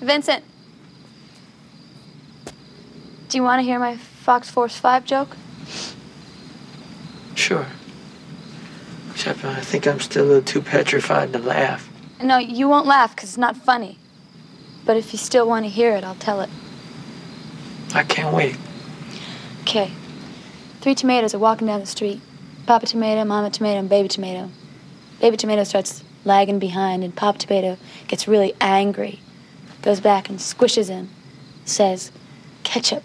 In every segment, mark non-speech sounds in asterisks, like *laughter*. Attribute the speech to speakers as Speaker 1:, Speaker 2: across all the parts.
Speaker 1: Vincent. Do you want to hear my Fox Force 5 joke?
Speaker 2: Sure. Except I think I'm still a little too petrified to laugh.
Speaker 1: No, you won't laugh because it's not funny. But if you still want to hear it, I'll tell it.
Speaker 2: I can't wait.
Speaker 1: Okay. Three tomatoes are walking down the street. Papa tomato, mama tomato, and baby tomato. Baby tomato starts lagging behind, and Papa tomato gets really angry. Goes back and squishes him. Says, ketchup.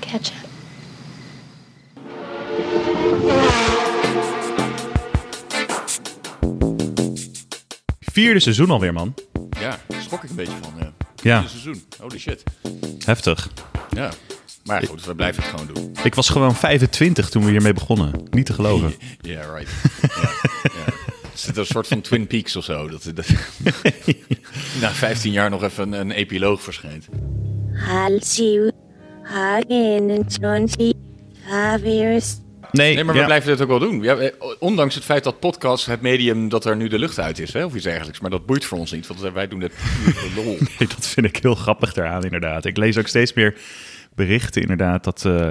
Speaker 1: ketchup.
Speaker 3: Vierde seizoen alweer, man.
Speaker 4: Ja, daar schrok ik een beetje van. Ja.
Speaker 3: Ja.
Speaker 4: Dit seizoen. Holy shit.
Speaker 3: Heftig.
Speaker 4: Ja. Maar goed, we blijven het gewoon doen.
Speaker 3: Ik was gewoon 25 toen we hiermee begonnen. Niet te
Speaker 4: *laughs*
Speaker 3: geloven.
Speaker 4: Ja, right. ja, ja. Het is een soort van Twin Peaks of zo. Dat, dat, na 15 jaar nog even een, een epiloog verschijnt.
Speaker 5: Halsiu, Hagen en Tonsi, Havirus,
Speaker 3: Nee,
Speaker 4: Nee, maar
Speaker 3: ja.
Speaker 4: we blijven dit ook wel doen. Ja, eh, ondanks het feit dat podcast, het medium dat er nu de lucht uit is, hè, of iets dergelijks. Maar dat boeit voor ons niet, want wij doen het puur voor lol.
Speaker 3: Nee, *laughs* dat vind ik heel grappig daaraan, inderdaad. Ik lees ook steeds meer berichten, inderdaad, dat eh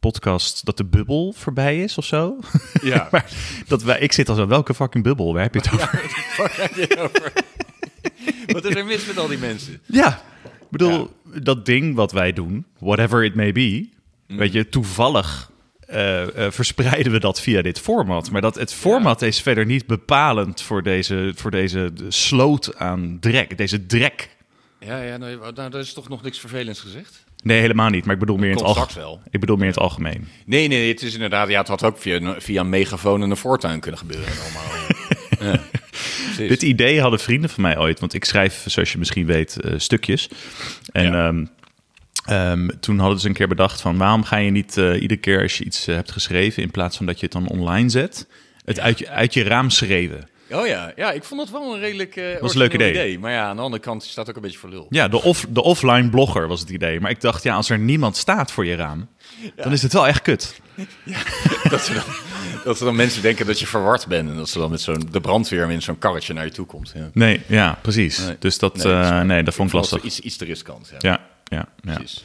Speaker 3: podcast, dat de bubbel voorbij is of zo.
Speaker 4: Ja.
Speaker 3: *laughs* maar dat wij, ik zit als wel, welke fucking bubbel? Waar heb je het over?
Speaker 4: Waar heb je het over? *laughs* Wat is er mis met al die mensen?
Speaker 3: Ja, ik bedoel, dat ding wat wij doen, whatever it may be,
Speaker 4: Mm.
Speaker 3: weet je, toevallig eh, eh, verspreiden we dat via dit format. Maar dat, het format is verder niet bepalend voor deze, voor deze sloot aan drek, deze drek.
Speaker 4: Ja, ja nou, nou, daar is toch nog niks vervelends gezegd?
Speaker 3: Nee, helemaal niet, maar ik bedoel meer in het
Speaker 4: komt
Speaker 3: algemeen.
Speaker 4: straks wel.
Speaker 3: Ik bedoel meer in het algemeen.
Speaker 4: Nee, nee, het is inderdaad, ja, het had ook via, een- via een megafoon en een voortuin kunnen gebeuren. Allemaal. eh, ja, precies.
Speaker 3: Dit idee hadden vrienden van mij ooit, want ik schrijf, zoals je misschien weet, eh, stukjes. En
Speaker 4: Ja.
Speaker 3: ehm, ehm, toen hadden ze een keer bedacht van waarom ga je niet eh, iedere keer als je iets eh, hebt geschreven, in plaats van dat je het dan online zet, het uit, je, uit je raam schreven.
Speaker 4: Oh ja, ja, ik vond dat wel een redelijk eh
Speaker 3: was een leuk
Speaker 4: origineel
Speaker 3: idee.
Speaker 4: Maar ja, aan de andere kant staat ook een beetje voor lul.
Speaker 3: Ja, de, off, de offline blogger was het idee. Maar ik dacht, ja, als er niemand staat voor je raam, dan is het wel echt kut.
Speaker 4: Dat, ze dan, dat ze dan mensen denken dat je verward bent en dat ze dan met zo'n de brandweer in zo'n karretje naar je toe komt. Ja.
Speaker 3: Nee, ja, precies.
Speaker 4: Nee.
Speaker 3: Dus dat,
Speaker 4: Nee, dat is
Speaker 3: eh,
Speaker 4: waar.
Speaker 3: nee, dat vond ik
Speaker 4: Dat is
Speaker 3: lastig.
Speaker 4: iets, iets te riskant. Ja,
Speaker 3: Ja, ja, ja.
Speaker 4: precies.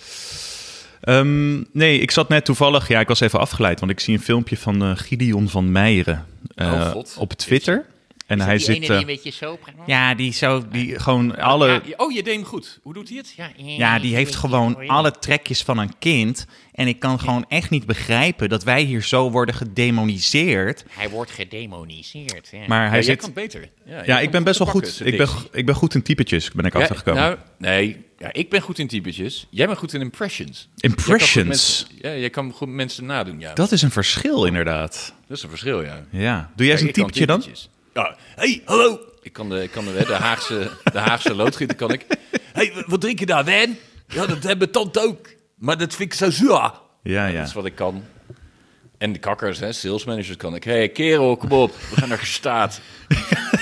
Speaker 3: Ehm, nee, ik zat net toevallig. Ja, ik was even afgeleid, want ik zie een filmpje van eh, Gideon van Meijeren eh,
Speaker 4: Oh, God.
Speaker 3: op Twitter. En hij
Speaker 6: die
Speaker 3: zit.
Speaker 6: ene die
Speaker 3: eh,
Speaker 6: een beetje zo praat.
Speaker 3: ja, die zo, die gewoon alle.
Speaker 4: Ja, oh, je deed hem goed. Hoe doet hij het?
Speaker 6: Ja, eh,
Speaker 3: Eh, Ja, die heeft
Speaker 6: eh,
Speaker 3: gewoon
Speaker 6: eh,
Speaker 3: alle trekjes van een kind. En ik kan gewoon echt niet begrijpen dat wij hier zo worden gedemoniseerd.
Speaker 6: Hij wordt gedemoniseerd. Ja.
Speaker 3: Maar hij
Speaker 4: Ja, jij
Speaker 3: zit.
Speaker 4: kan beter. Ja, jij
Speaker 3: Ja,
Speaker 4: kan
Speaker 3: ik ben best wel
Speaker 4: pakken,
Speaker 3: goed.
Speaker 4: zijn
Speaker 3: Ik ben,
Speaker 4: dictie.
Speaker 3: ik ben goed in typetjes, ben ik
Speaker 4: Ja,
Speaker 3: achtergekomen.
Speaker 4: Nou, nee, ja, ik ben goed in typetjes. Jij bent goed in impressions.
Speaker 3: Impressions.
Speaker 4: Jij kan goed mensen- ja, jij kan goed mensen nadoen, ja. Dat,
Speaker 3: dat is een verschil, inderdaad.
Speaker 4: is een verschil, ja.
Speaker 3: Ja. Doe jij
Speaker 4: Kijk,
Speaker 3: zo'n
Speaker 4: ik kan
Speaker 3: typetje dan?
Speaker 4: typetjes. Ja. hey, hallo. Ik kan de, ik kan de, de Haagse, de Haagse loodgieter kan ik. hey, wa- wat drink je daar, Wen? Ja, dat hebben we tante ook. Maar dat vind ik zo zuur.
Speaker 3: Ja, ja.
Speaker 4: Dat is wat ik kan. En de kakkers, hè, sales managers kan ik. hey, kerel, kom op. We gaan naar gestaat.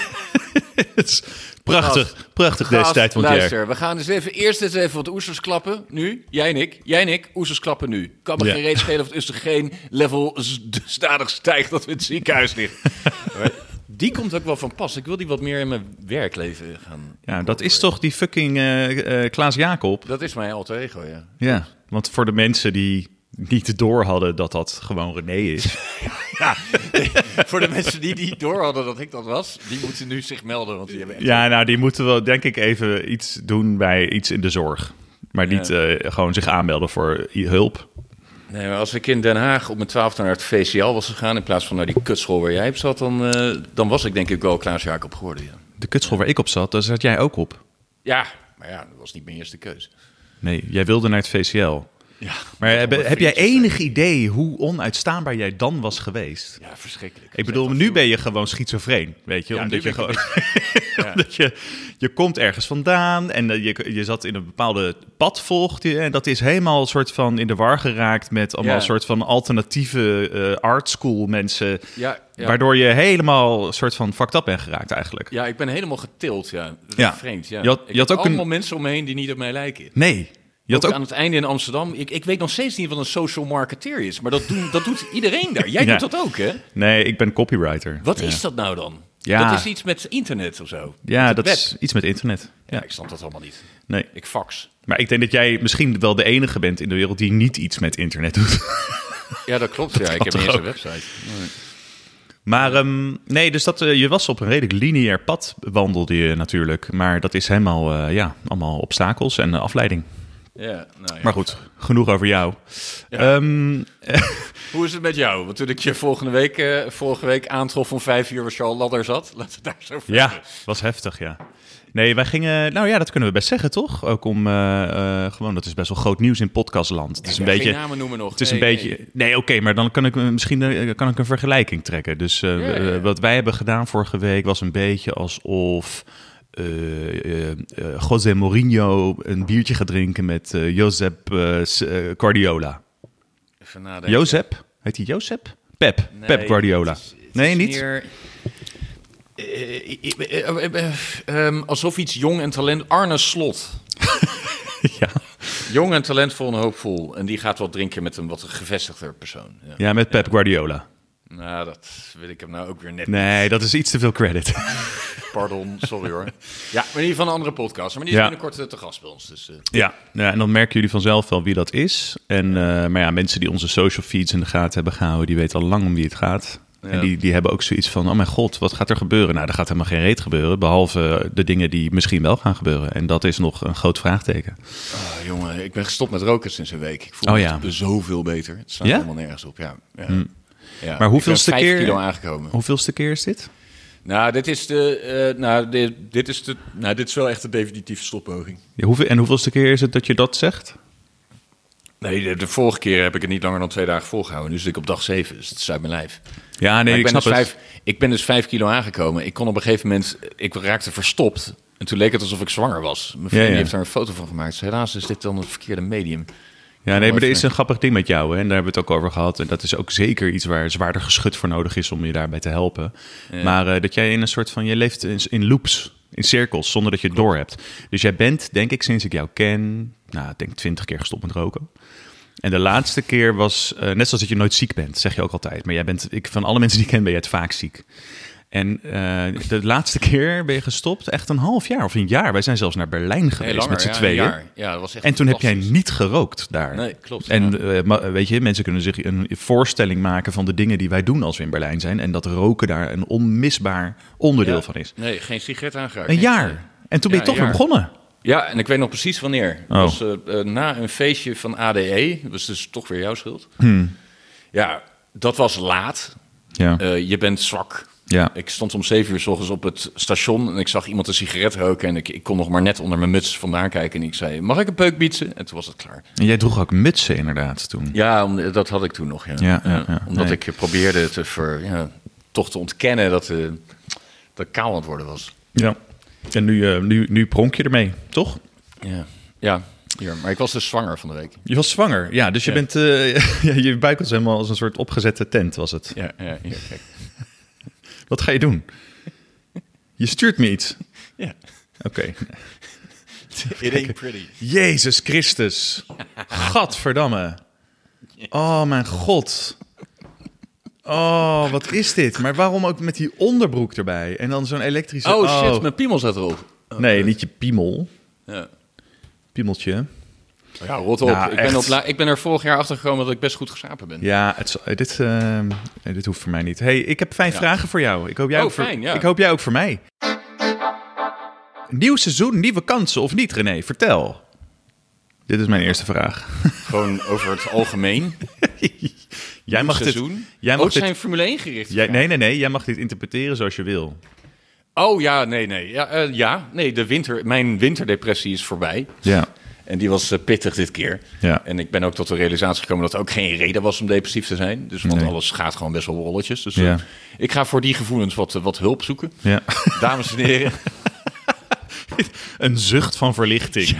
Speaker 3: *laughs* Het is prachtig, prachtig deze
Speaker 4: Gast,
Speaker 3: tijd van het jaar.
Speaker 4: luister, we gaan dus even, eerst eens even wat oesters klappen. Nu, jij en ik. Jij en ik, oesters klappen nu. Kan me
Speaker 3: Ja.
Speaker 4: geen reet schelen of het oestergeen level s- stadig stijgt dat we in het ziekenhuis liggen.
Speaker 3: *laughs*
Speaker 4: Maar die komt ook wel van pas. Ik wil die wat meer in mijn werkleven gaan.
Speaker 3: Ja, dat is toch die fucking eh, eh, Klaas Jacob?
Speaker 4: Dat is mijn alter ego, ja. *laughs*
Speaker 3: Ja, want voor de mensen die niet door hadden dat dat gewoon René is. *laughs*
Speaker 4: Voor de mensen die niet door hadden dat ik dat was, die moeten nu zich melden. Want die hebben echt...
Speaker 3: Ja, nou, die moeten wel denk ik even iets doen bij iets in de zorg. Maar niet eh, gewoon zich aanmelden voor i- hulp.
Speaker 4: Nee, maar als ik in Den Haag op mijn twaalfde naar het VCL was gegaan, in plaats van naar die kutschool waar jij op zat, dan, eh, dan was ik denk ik wel Klaas Jacob geworden, ja.
Speaker 3: De kutschool waar ik op zat, daar zat jij ook op.
Speaker 4: Ja, maar ja, dat was niet mijn eerste keus.
Speaker 3: Nee, jij wilde naar het VCL.
Speaker 4: Ja,
Speaker 3: Maar heb, heb jij
Speaker 4: vriendjes
Speaker 3: enig idee hoe onuitstaanbaar jij dan was geweest?
Speaker 4: Ja, verschrikkelijk.
Speaker 3: Ik bedoel, nu ben je gewoon schizofreen, weet je?
Speaker 4: Ja,
Speaker 3: omdat
Speaker 4: nu
Speaker 3: je
Speaker 4: ben
Speaker 3: gewoon... *laughs* omdat je, je komt ergens vandaan en eh, je, je zat in een bepaalde pad volgt je. En dat is helemaal een soort van in de war geraakt met allemaal
Speaker 4: Ja.
Speaker 3: een soort van alternatieve eh art school mensen.
Speaker 4: Ja, ja.
Speaker 3: Waardoor je helemaal een soort van fucked up bent geraakt eigenlijk.
Speaker 4: Ja, ik ben helemaal getild, ja. Dat is
Speaker 3: Ja.
Speaker 4: Vreemd, ja.
Speaker 3: Je had-
Speaker 4: Ik
Speaker 3: je had
Speaker 4: heb
Speaker 3: ook
Speaker 4: allemaal
Speaker 3: een-
Speaker 4: mensen om me heen die niet op mij lijken.
Speaker 3: Nee, je had
Speaker 4: Ook
Speaker 3: ook...
Speaker 4: aan het einde in Amsterdam. Ik, ik weet nog steeds niet wat een social marketeer is, maar dat, doen, dat doet iedereen daar.
Speaker 3: *laughs*
Speaker 4: Jij
Speaker 3: Ja.
Speaker 4: doet dat ook, hè?
Speaker 3: Nee, ik ben copywriter.
Speaker 4: Wat
Speaker 3: Ja.
Speaker 4: is dat nou dan?
Speaker 3: Ja.
Speaker 4: Dat is iets met internet of zo. Met
Speaker 3: Ja,
Speaker 4: het
Speaker 3: dat
Speaker 4: web.
Speaker 3: is iets met internet.
Speaker 4: Ja,
Speaker 3: Ja.
Speaker 4: ik snap dat allemaal niet.
Speaker 3: Nee.
Speaker 4: Ik fax.
Speaker 3: Maar ik denk dat jij misschien wel de enige bent in de wereld die niet iets met internet doet.
Speaker 4: Ja, dat klopt. ja, ik
Speaker 3: kan
Speaker 4: heb niet eens
Speaker 3: toch
Speaker 4: een website.
Speaker 3: Maar ehm, nee, dus dat, eh, je was op een redelijk lineair pad, wandelde je natuurlijk. Maar dat is helemaal, eh, ja, allemaal obstakels en eh, afleiding.
Speaker 4: Ja, nou ja.
Speaker 3: Maar goed, genoeg over jou. Ehm,
Speaker 4: Hoe is het met jou? Want toen ik je volgende week, eh, vorige week aantrof om vijf uur waar Charles Ladder zat. *laughs* Laten we daar zo verder.
Speaker 3: ja, was heftig, ja. Nee, wij gingen, nou ja, dat kunnen we best zeggen, toch? Ook om, eh, eh, gewoon, dat is best wel groot nieuws in podcastland. Het is een
Speaker 4: Ja,
Speaker 3: beetje...
Speaker 4: Geen namen noemen nog.
Speaker 3: Het is
Speaker 4: Nee,
Speaker 3: een beetje.
Speaker 4: nee.
Speaker 3: Nee, oké, maar dan kan ik eh, misschien eh, kan ik een vergelijking trekken. Dus eh,
Speaker 4: Ja, ja, ja.
Speaker 3: eh, wat wij hebben gedaan vorige week was een beetje alsof. eh eh, eh, José Mourinho een biertje gaat drinken met eh Josep eh, S- eh, Guardiola.
Speaker 4: Even nadenken.
Speaker 3: Jozep? Heet hij Jozep? Pep. Pep
Speaker 4: Nee,
Speaker 3: Guardiola.
Speaker 4: het is- het
Speaker 3: nee,
Speaker 4: is
Speaker 3: niet?
Speaker 4: meer, eh, eh, eh, eh, eh, eh, ehm, alsof iets jong en talent. Arne Slot.
Speaker 3: *laughs* Ja.
Speaker 4: Jong en talentvol en hoopvol. En die gaat wat drinken met een wat gevestigder persoon. Ja.
Speaker 3: ja, met Pep Guardiola.
Speaker 4: Nou, dat wil ik hem nou ook weer net.
Speaker 3: Nee, dat is iets te veel credit. *laughs*
Speaker 4: Pardon, sorry hoor. Ja, maar in ieder geval een andere podcast. Maar die is
Speaker 3: Ja.
Speaker 4: binnenkort eh, te gast bij ons. Dus, eh,
Speaker 3: Ja, ja, en dan merken jullie vanzelf wel wie dat is. En, eh, maar ja, mensen die onze social feeds in de gaten hebben gehouden, die weten al lang om wie het gaat. En die, die hebben ook zoiets van, oh mijn god, wat gaat er gebeuren? Nou, er gaat helemaal geen reet gebeuren, behalve de dingen die misschien wel gaan gebeuren. En dat is nog een groot vraagteken.
Speaker 4: ah, jongen, ik ben gestopt met roken sinds een week. Ik voel
Speaker 3: Oh,
Speaker 4: me
Speaker 3: ja.
Speaker 4: echt zoveel beter. Het staat
Speaker 3: Ja? Hmm.
Speaker 4: helemaal nergens op. Ja. ja. Ja.
Speaker 3: Maar hoeveelste
Speaker 4: ik ben vijf
Speaker 3: keer-
Speaker 4: kilo aangekomen.
Speaker 3: Hoeveelste keer is dit?
Speaker 4: Nou, dit is de, eh, nou, dit, dit is de, nou, dit is wel echt de definitieve stoppoging.
Speaker 3: Ja, hoeveel, en hoeveelste keer is het dat je dat zegt?
Speaker 4: Nee, de, de vorige keer heb ik het niet langer dan twee dagen volgehouden. Nu zit ik op dag zeven, dus het is uit mijn lijf.
Speaker 3: Ja, nee,
Speaker 4: Maar
Speaker 3: ik,
Speaker 4: ik, ben
Speaker 3: snap
Speaker 4: dus
Speaker 3: het.
Speaker 4: vijf, ik ben dus vijf kilo aangekomen. Ik kon op een gegeven moment, ik raakte verstopt. En toen leek het alsof ik zwanger was. Mijn vriendin
Speaker 3: Ja, ja.
Speaker 4: heeft daar een foto van gemaakt. Dus helaas is dit dan het verkeerde medium.
Speaker 3: Ja, nee, maar er is
Speaker 4: Nee.
Speaker 3: een grappig ding met jou. Hè? En daar hebben we het ook over gehad. En dat is ook zeker iets waar zwaarder geschut voor nodig is om je daarbij te helpen. Maar eh, dat jij in een soort van, je leeft in, in loops, in cirkels, zonder dat je het door hebt. Dus jij bent, denk ik, sinds ik jou ken, nou, ik denk twintig keer gestopt met roken. En de laatste keer was, eh, net zoals dat je nooit ziek bent, zeg je ook altijd. Maar jij bent, ik, van alle mensen die ik ken, ben jij het vaak ziek. En eh, de laatste keer ben je gestopt, echt een half jaar of een jaar. Wij zijn zelfs naar Berlijn geweest
Speaker 4: langer,
Speaker 3: met z'n
Speaker 4: ja, een
Speaker 3: tweeën.
Speaker 4: jaar. Ja, dat was echt
Speaker 3: en toen heb jij
Speaker 4: fantastisch.
Speaker 3: niet gerookt daar.
Speaker 4: Nee, klopt,
Speaker 3: En
Speaker 4: ja.
Speaker 3: eh, ma- weet je, mensen kunnen zich een voorstelling maken van de dingen die wij doen als we in Berlijn zijn. En dat roken daar een onmisbaar onderdeel van is.
Speaker 4: Nee, geen sigaret aangeraakt.
Speaker 3: Een
Speaker 4: niks.
Speaker 3: jaar. En toen ben je
Speaker 4: Ja,
Speaker 3: toch weer
Speaker 4: een jaar.
Speaker 3: begonnen.
Speaker 4: Ja, en ik weet nog precies wanneer. Het
Speaker 3: Oh.
Speaker 4: was eh, eh, na een feestje van ADE. Dat was dus toch weer jouw schuld. Ja, dat was laat.
Speaker 3: Ja.
Speaker 4: Eh, je bent zwak.
Speaker 3: Ja.
Speaker 4: Ik stond om zeven uur s ochtends op het station en ik zag iemand een sigaret roken. En ik, ik kon nog maar net onder mijn muts vandaan kijken. En ik zei, mag ik een peuk bietsen? En toen was het klaar.
Speaker 3: En jij droeg ook mutsen inderdaad toen.
Speaker 4: Ja, om- dat had ik toen nog. Ja.
Speaker 3: Ja, ja, ja.
Speaker 4: Omdat
Speaker 3: Nee.
Speaker 4: ik eh, probeerde te ver, ja, toch te ontkennen dat, eh dat ik kaal aan het worden was.
Speaker 3: Ja. En nu, eh, nu, nu pronk je ermee, toch?
Speaker 4: Ja, ja. Hier, maar ik was dus zwanger van de week.
Speaker 3: Je was zwanger, ja. Dus je
Speaker 4: Ja.
Speaker 3: bent, eh, *laughs* ja, je buik was helemaal als een soort opgezette tent, was het.
Speaker 4: Ja, ja, hier, kijk.
Speaker 3: Wat ga je doen? Je stuurt me iets.
Speaker 4: Ja.
Speaker 3: Oké.
Speaker 4: *laughs* It ain't pretty.
Speaker 3: Jezus Christus. Gadverdamme. Oh, mijn god. Oh, wat is dit? Maar waarom ook met die onderbroek erbij? En dan zo'n elektrische...
Speaker 4: Oh, shit, mijn piemel zat erop.
Speaker 3: Nee, niet je piemel.
Speaker 4: Ja,
Speaker 3: Piemeltje.
Speaker 4: Oh, ja rot op.
Speaker 3: Nou,
Speaker 4: ik,
Speaker 3: echt.
Speaker 4: ben op la- ik ben er vorig jaar achter gekomen dat ik best goed geslapen ben.
Speaker 3: Ja, het, is- dit, ehm, nee, dit hoeft voor mij niet. hey, ik heb vijf vragen voor jou. Ik hoop jij,
Speaker 4: Oh,
Speaker 3: ook voor,
Speaker 4: fijn, ja.
Speaker 3: ik hoop jij ook voor mij. Nieuw seizoen, nieuwe kansen of niet, René? Vertel. Dit is mijn eerste vraag.
Speaker 4: Gewoon over het algemeen.
Speaker 3: *laughs* Jij mag dit...
Speaker 4: seizoen.
Speaker 3: Jij
Speaker 4: oh,
Speaker 3: mag
Speaker 4: het
Speaker 3: dit
Speaker 4: zijn Formule 1 gericht.
Speaker 3: Jij, nee, nee, nee. Jij mag dit interpreteren zoals je wil.
Speaker 4: Oh ja, nee, nee. Ja, eh, ja, nee, de winter, mijn winterdepressie is voorbij.
Speaker 3: Ja.
Speaker 4: En die was eh, pittig dit keer.
Speaker 3: Ja.
Speaker 4: En ik ben ook tot de realisatie gekomen dat er ook geen reden was om depressief te zijn. Dus want
Speaker 3: Nee.
Speaker 4: alles gaat gewoon best wel rolletjes. Dus
Speaker 3: Ja.
Speaker 4: eh, ik ga voor die gevoelens wat, eh, wat hulp zoeken.
Speaker 3: ja.
Speaker 4: Dames en heren.
Speaker 3: *laughs* Een zucht van verlichting. *laughs*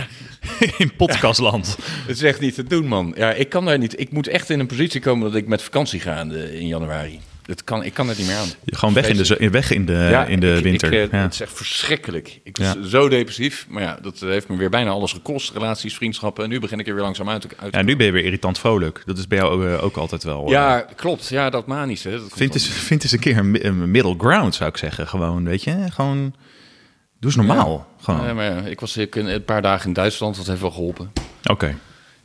Speaker 3: In podcastland.
Speaker 4: Het is echt niet te doen, man. Ja, ik kan daar niet. Ik moet echt in een positie komen dat ik met vakantie ga in, de- in januari. Het kan, ik kan het niet meer aan.
Speaker 3: Gewoon weg in de, zo- weg in de, in de
Speaker 4: ik- ik,
Speaker 3: winter.
Speaker 4: eh,
Speaker 3: ja.
Speaker 4: Het is echt verschrikkelijk. Ik was
Speaker 3: Ja.
Speaker 4: zo depressief. Maar ja, dat eh, heeft me weer bijna alles gekost. Relaties, vriendschappen. En nu begin ik er weer langzaam uit te uit te
Speaker 3: ja, nu ben je weer irritant vrolijk. Dat is bij jou eh, ook altijd wel... eh,
Speaker 4: Ja, klopt. Ja, dat manische. Dat komt
Speaker 3: Vind
Speaker 4: dan.
Speaker 3: eens, vind eens een keer een, mi- een middle ground, zou ik zeggen. Gewoon, weet je? Gewoon, doe eens normaal. Gewoon.
Speaker 4: Ja, maar ja, ik was ik, een paar dagen in Duitsland. Dat heeft wel geholpen. Eh,
Speaker 3: Oké.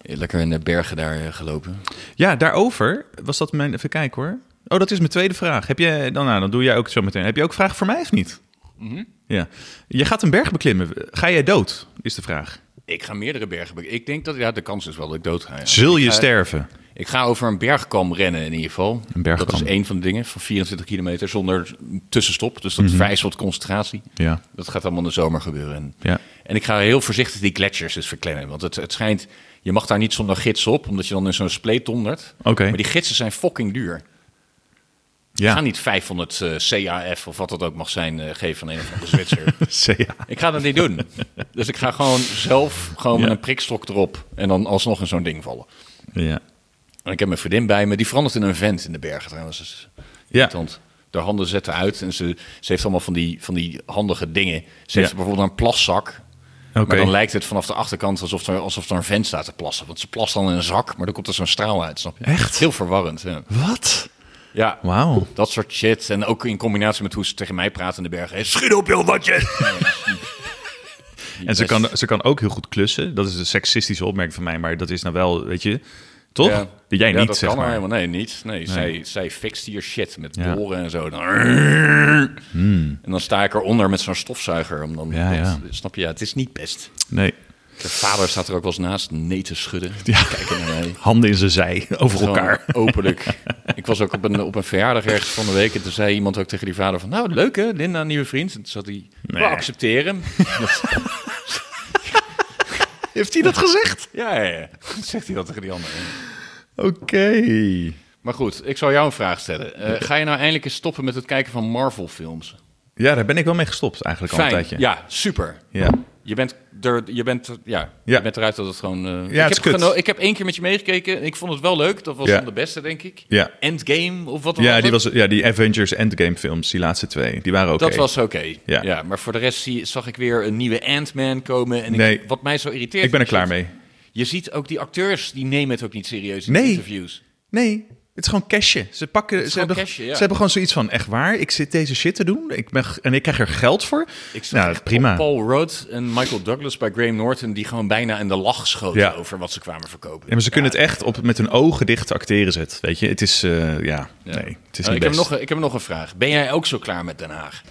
Speaker 4: Lekker in de bergen daar eh, gelopen.
Speaker 3: Ja, daarover was dat mijn... Even kijken hoor. Oh, dat is mijn tweede vraag. Heb je, dan, nou, dan doe jij ook zo meteen. Heb je ook vragen voor mij of niet?
Speaker 4: Mhm.
Speaker 3: Ja. Je gaat een berg beklimmen. Ga jij dood, is de vraag.
Speaker 4: Ik ga meerdere bergen. be- Ik denk dat ja, de kans is wel dat ik dood ga. ja.
Speaker 3: Zul je
Speaker 4: Ik ga-
Speaker 3: sterven?
Speaker 4: Ik ga over een bergkam rennen in ieder geval.
Speaker 3: Een bergkam.
Speaker 4: Dat is één van de dingen, van 24 kilometer zonder tussenstop. Dus dat vereist wat concentratie.
Speaker 3: Mhm. Ja.
Speaker 4: Dat gaat allemaal in de zomer gebeuren. En,
Speaker 3: Ja.
Speaker 4: en ik ga heel voorzichtig die gletsjers eens verklemmen. Want het, het schijnt, je mag daar niet zonder gids op, omdat je dan in zo'n spleet dondert.
Speaker 3: Oké.
Speaker 4: Maar die gidsen zijn fucking duur. Ik ga
Speaker 3: *laughs* Ja.
Speaker 4: niet 500 eh, CAF of wat dat ook mag zijn eh, geven van een of andere
Speaker 3: *laughs*
Speaker 4: Zwitser.
Speaker 3: Ja.
Speaker 4: ik ga dat niet doen. Dus ik ga gewoon zelf gewoon met
Speaker 3: Ja.
Speaker 4: een prikstok erop en dan alsnog in zo'n ding vallen.
Speaker 3: Ja.
Speaker 4: En ik heb mijn vriendin bij me. Die verandert in een vent in de bergen trouwens. Dat is irritant. De handen zetten uit en ze, ze heeft allemaal van die, van die handige dingen. Ze heeft
Speaker 3: Ja.
Speaker 4: bijvoorbeeld een plaszak.
Speaker 3: Oké.
Speaker 4: Maar dan lijkt het vanaf de achterkant alsof er, alsof er een vent staat te plassen. Want ze plast dan in een zak, maar dan komt er zo'n straal uit, snap je?
Speaker 3: Echt?
Speaker 4: Heel verwarrend, ja.
Speaker 3: Wat?
Speaker 4: ja.
Speaker 3: Wauw.
Speaker 4: Dat soort shit. En ook in combinatie met hoe ze tegen mij praat in de bergen. Hey, Schiet op, joh, wat
Speaker 3: *laughs*
Speaker 4: je...
Speaker 3: En ze kan, ze kan ook heel goed klussen. Dat is een seksistische opmerking van mij, maar dat is nou wel, weet je, toch?
Speaker 4: Ja.
Speaker 3: Dat jij
Speaker 4: Ja,
Speaker 3: niet,
Speaker 4: dat
Speaker 3: zeg
Speaker 4: kan
Speaker 3: maar.
Speaker 4: haar helemaal. Nee, niet. Nee, Zij, zij fixt hier shit met
Speaker 3: Ja. Hmm.
Speaker 4: boren en zo. Dan, En dan sta ik eronder met zo'n stofzuiger. Om dan,
Speaker 3: Ja,
Speaker 4: dat-
Speaker 3: ja.
Speaker 4: Snap je? Ja, het is niet best.
Speaker 3: Nee.
Speaker 4: De vader staat er ook wel eens naast, nee te schudden.
Speaker 3: *laughs* Ja.
Speaker 4: Kijken naar mij.
Speaker 3: Handen in zijn zij, *laughs* over
Speaker 4: Gewoon Oh.
Speaker 3: elkaar.
Speaker 4: *laughs* Openlijk. Ik was ook op een, op een verjaardag ergens van de week. En toen zei iemand ook tegen die vader van... Nou, leuk hè, Linda, een nieuwe vriend. En toen zat hij...
Speaker 3: Nee.
Speaker 4: We
Speaker 3: *laughs*
Speaker 4: accepteren hem.
Speaker 3: Heeft hij dat gezegd?
Speaker 4: ja, ja, ja. Toen Zegt hij dat tegen die ander.
Speaker 3: Oké.
Speaker 4: Maar goed, ik zal jou een vraag stellen. Eh, ga je nou eindelijk eens stoppen met het kijken van Marvel-films?
Speaker 3: Ja, daar ben ik wel mee gestopt eigenlijk al een
Speaker 4: Fijn,
Speaker 3: tijdje.
Speaker 4: ja, super.
Speaker 3: Ja.
Speaker 4: Je bent, er, je, bent, er- ja,
Speaker 3: Ja.
Speaker 4: je bent eruit dat het gewoon... eh, ik,
Speaker 3: het is
Speaker 4: heb
Speaker 3: kut.
Speaker 4: geno- ik heb één keer met je meegekeken. Ik vond het wel leuk. Dat was
Speaker 3: Ja.
Speaker 4: van de beste, denk ik.
Speaker 3: Ja.
Speaker 4: Endgame of wat dan
Speaker 3: Ja,
Speaker 4: ook.
Speaker 3: die was, ja, die Avengers Endgame films, die laatste twee, die waren oké.
Speaker 4: Dat was oké.
Speaker 3: Ja.
Speaker 4: Ja. maar voor de rest zie, zag ik weer een nieuwe Ant-Man komen. En ik-
Speaker 3: Nee.
Speaker 4: wat mij zo irriteert...
Speaker 3: Ik ben er
Speaker 4: is
Speaker 3: klaar
Speaker 4: dat-
Speaker 3: mee.
Speaker 4: Je ziet ook die acteurs, die nemen het ook niet serieus in
Speaker 3: Nee.
Speaker 4: de interviews.
Speaker 3: Nee, het is gewoon cashje. Ze, pakken,
Speaker 4: is
Speaker 3: ze,
Speaker 4: gewoon
Speaker 3: hebben,
Speaker 4: cashje, ja.
Speaker 3: ze hebben gewoon zoiets van, echt waar, ik zit deze shit te doen ik ben, g- en ik krijg er geld voor.
Speaker 4: Ik zag
Speaker 3: nou,
Speaker 4: echt
Speaker 3: prima.
Speaker 4: Paul Rudd en Michael Douglas bij Graham Norton... die gewoon bijna in de lach schoten
Speaker 3: Ja.
Speaker 4: over wat ze kwamen verkopen.
Speaker 3: Ja, maar ze kunnen het echt op, met hun ogen dicht acteren zet, weet je. Het is, eh, ja, nee, het is
Speaker 4: Eh,
Speaker 3: niet
Speaker 4: ik,
Speaker 3: best.
Speaker 4: heb nog, een- ik heb nog een vraag. Ben jij ook zo klaar met Den Haag?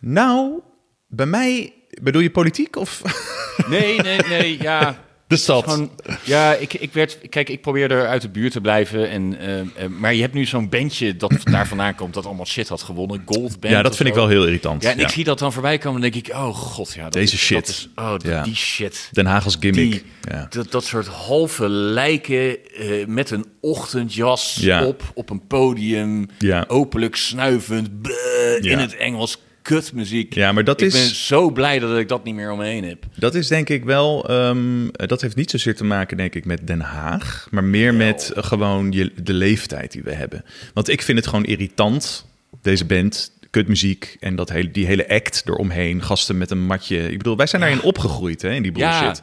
Speaker 3: Nou, bij mij, bedoel je politiek of *laughs*
Speaker 4: Nee, nee, nee, ja.
Speaker 3: de stad?
Speaker 4: Gewoon, ja, ik, ik werd, kijk, ik probeerde uit de buurt te blijven. En, eh, eh, maar je hebt nu zo'n
Speaker 3: *clears throat*
Speaker 4: bandje dat daar vandaan komt dat allemaal shit had gewonnen. Gold band
Speaker 3: ja, dat
Speaker 4: of
Speaker 3: vind ik
Speaker 4: zo.
Speaker 3: wel heel irritant.
Speaker 4: Ja, en ik
Speaker 3: Ja.
Speaker 4: zie dat dan voorbij komen en denk ik, oh god, ja. dat
Speaker 3: Deze
Speaker 4: is-
Speaker 3: shit.
Speaker 4: dat is- oh,
Speaker 3: Ja.
Speaker 4: die shit.
Speaker 3: Den Haag als gimmick.
Speaker 4: Die,
Speaker 3: ja.
Speaker 4: dat, dat soort halve lijken eh, met een ochtendjas
Speaker 3: Ja.
Speaker 4: op, op een podium.
Speaker 3: Ja.
Speaker 4: Openlijk snuivend, bleh,
Speaker 3: Ja.
Speaker 4: in het Engels. Kutmuziek.
Speaker 3: Ja, maar dat
Speaker 4: ik
Speaker 3: is-
Speaker 4: ben zo blij dat ik dat niet meer omheen heb.
Speaker 3: Dat is denk ik wel, ehm, eh, dat heeft niet zozeer te maken denk ik met Den Haag, maar meer met eh, gewoon je, de leeftijd die we hebben. Want ik vind het gewoon irritant, deze band, kutmuziek en dat hele, die hele act eromheen, gasten met een matje. Ik bedoel, wij zijn daarin opgegroeid hè, in die
Speaker 4: Ja.
Speaker 3: bullshit.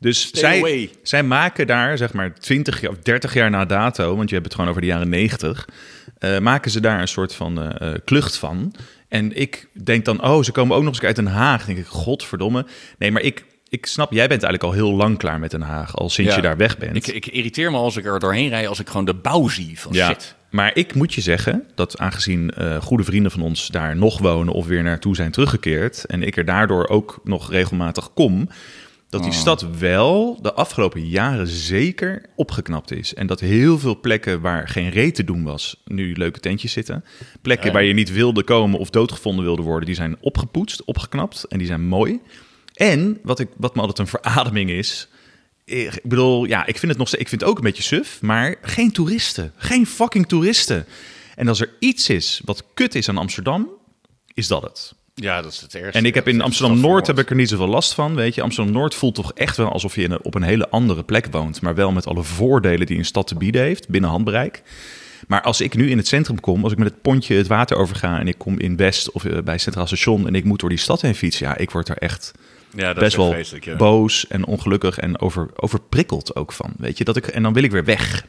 Speaker 3: Dus
Speaker 4: Stay
Speaker 3: zij,
Speaker 4: away.
Speaker 3: zij maken daar, zeg maar, 20 jaar of 30 jaar na dato, want je hebt het gewoon over de jaren 90, eh, maken ze daar een soort van eh, eh, klucht van. En ik denk dan, oh, ze komen ook nog eens uit Den Haag. Dan denk ik, godverdomme. Nee, maar ik, ik snap, jij bent eigenlijk al heel lang klaar met Den Haag, al sinds
Speaker 4: Ja.
Speaker 3: je daar weg bent.
Speaker 4: Ik, ik irriteer me als ik er doorheen rijd, als ik gewoon de bouw zie van
Speaker 3: ja.
Speaker 4: shit.
Speaker 3: Maar ik moet je zeggen dat aangezien eh, goede vrienden van ons daar nog wonen of weer naartoe zijn teruggekeerd en ik er daardoor ook nog regelmatig kom, dat die stad wel de afgelopen jaren zeker opgeknapt is. En dat heel veel plekken waar geen reet te doen was, nu leuke tentjes zitten. Plekken waar je niet wilde komen of doodgevonden wilde worden, die zijn opgepoetst, opgeknapt en die zijn mooi. En wat, ik, wat me altijd een verademing is, ik bedoel, ja, ik vind het nog steeds, ik vind het ook een beetje suf, maar geen toeristen. Geen fucking toeristen. En als er iets is wat kut is aan Amsterdam, is dat het.
Speaker 4: Ja, dat is het ergste.
Speaker 3: En ik heb
Speaker 4: Dat
Speaker 3: in
Speaker 4: is
Speaker 3: Amsterdam
Speaker 4: stad
Speaker 3: Noord heb ik
Speaker 4: vermoord.
Speaker 3: er niet zoveel last van. Weet je, Amsterdam Noord voelt toch echt wel alsof je in een- op een hele andere plek woont. Maar wel met alle voordelen die een stad te bieden heeft binnen handbereik. Maar als ik nu in het centrum kom, als ik met het pontje het water overga en ik kom in West of eh, bij Centraal Station en ik moet door die stad heen fietsen, ja, ik word er echt
Speaker 4: Ja, dat
Speaker 3: best
Speaker 4: is echt
Speaker 3: wel
Speaker 4: vreselijk, ja.
Speaker 3: boos en ongelukkig en over, overprikkeld ook van. Weet je, dat ik, en dan wil ik weer weg.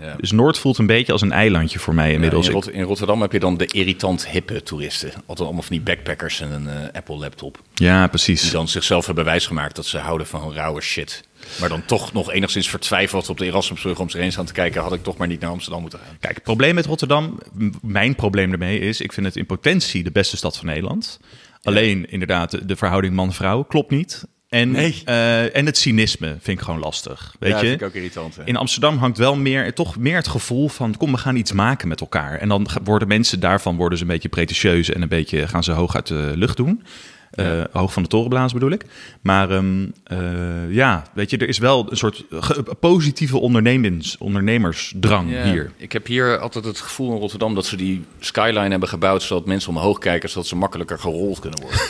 Speaker 4: Ja.
Speaker 3: Dus Noord voelt een beetje als een eilandje voor mij
Speaker 4: Ja,
Speaker 3: inmiddels.
Speaker 4: in,
Speaker 3: Ik-
Speaker 4: Rot- in Rotterdam heb je dan de irritant hippe toeristen. Altijd allemaal van die backpackers en een eh, Apple laptop.
Speaker 3: ja,
Speaker 4: Die
Speaker 3: precies.
Speaker 4: dan zichzelf hebben wijsgemaakt dat ze houden van rauwe shit. Maar dan toch nog enigszins vertwijfeld op de Erasmusbrug om zich heen staan te kijken. Had ik toch maar niet naar Amsterdam moeten gaan.
Speaker 3: Kijk, het probleem met Rotterdam, m- mijn probleem daarmee is, ik vind het in potentie de beste stad van Nederland. Alleen inderdaad, de- de verhouding man-vrouw klopt niet. En,
Speaker 4: Nee.
Speaker 3: eh, en het cynisme vind ik gewoon lastig. Weet
Speaker 4: Ja,
Speaker 3: je?
Speaker 4: vind ik ook irritant, hè.
Speaker 3: In Amsterdam hangt wel meer, toch meer het gevoel van kom, we gaan iets maken met elkaar. En dan ge- worden mensen daarvan worden ze een beetje pretentieus en een beetje gaan ze hoog uit de lucht doen. Eh, Hoog van de toren blazen bedoel ik. Maar ehm, eh, ja, weet je, er is wel een soort ge- positieve ondernemens, ondernemersdrang
Speaker 4: Ja,
Speaker 3: hier.
Speaker 4: Ik heb hier altijd het gevoel in Rotterdam dat ze die skyline hebben gebouwd zodat mensen omhoog kijken, zodat ze makkelijker gerold kunnen
Speaker 3: *laughs*
Speaker 4: worden.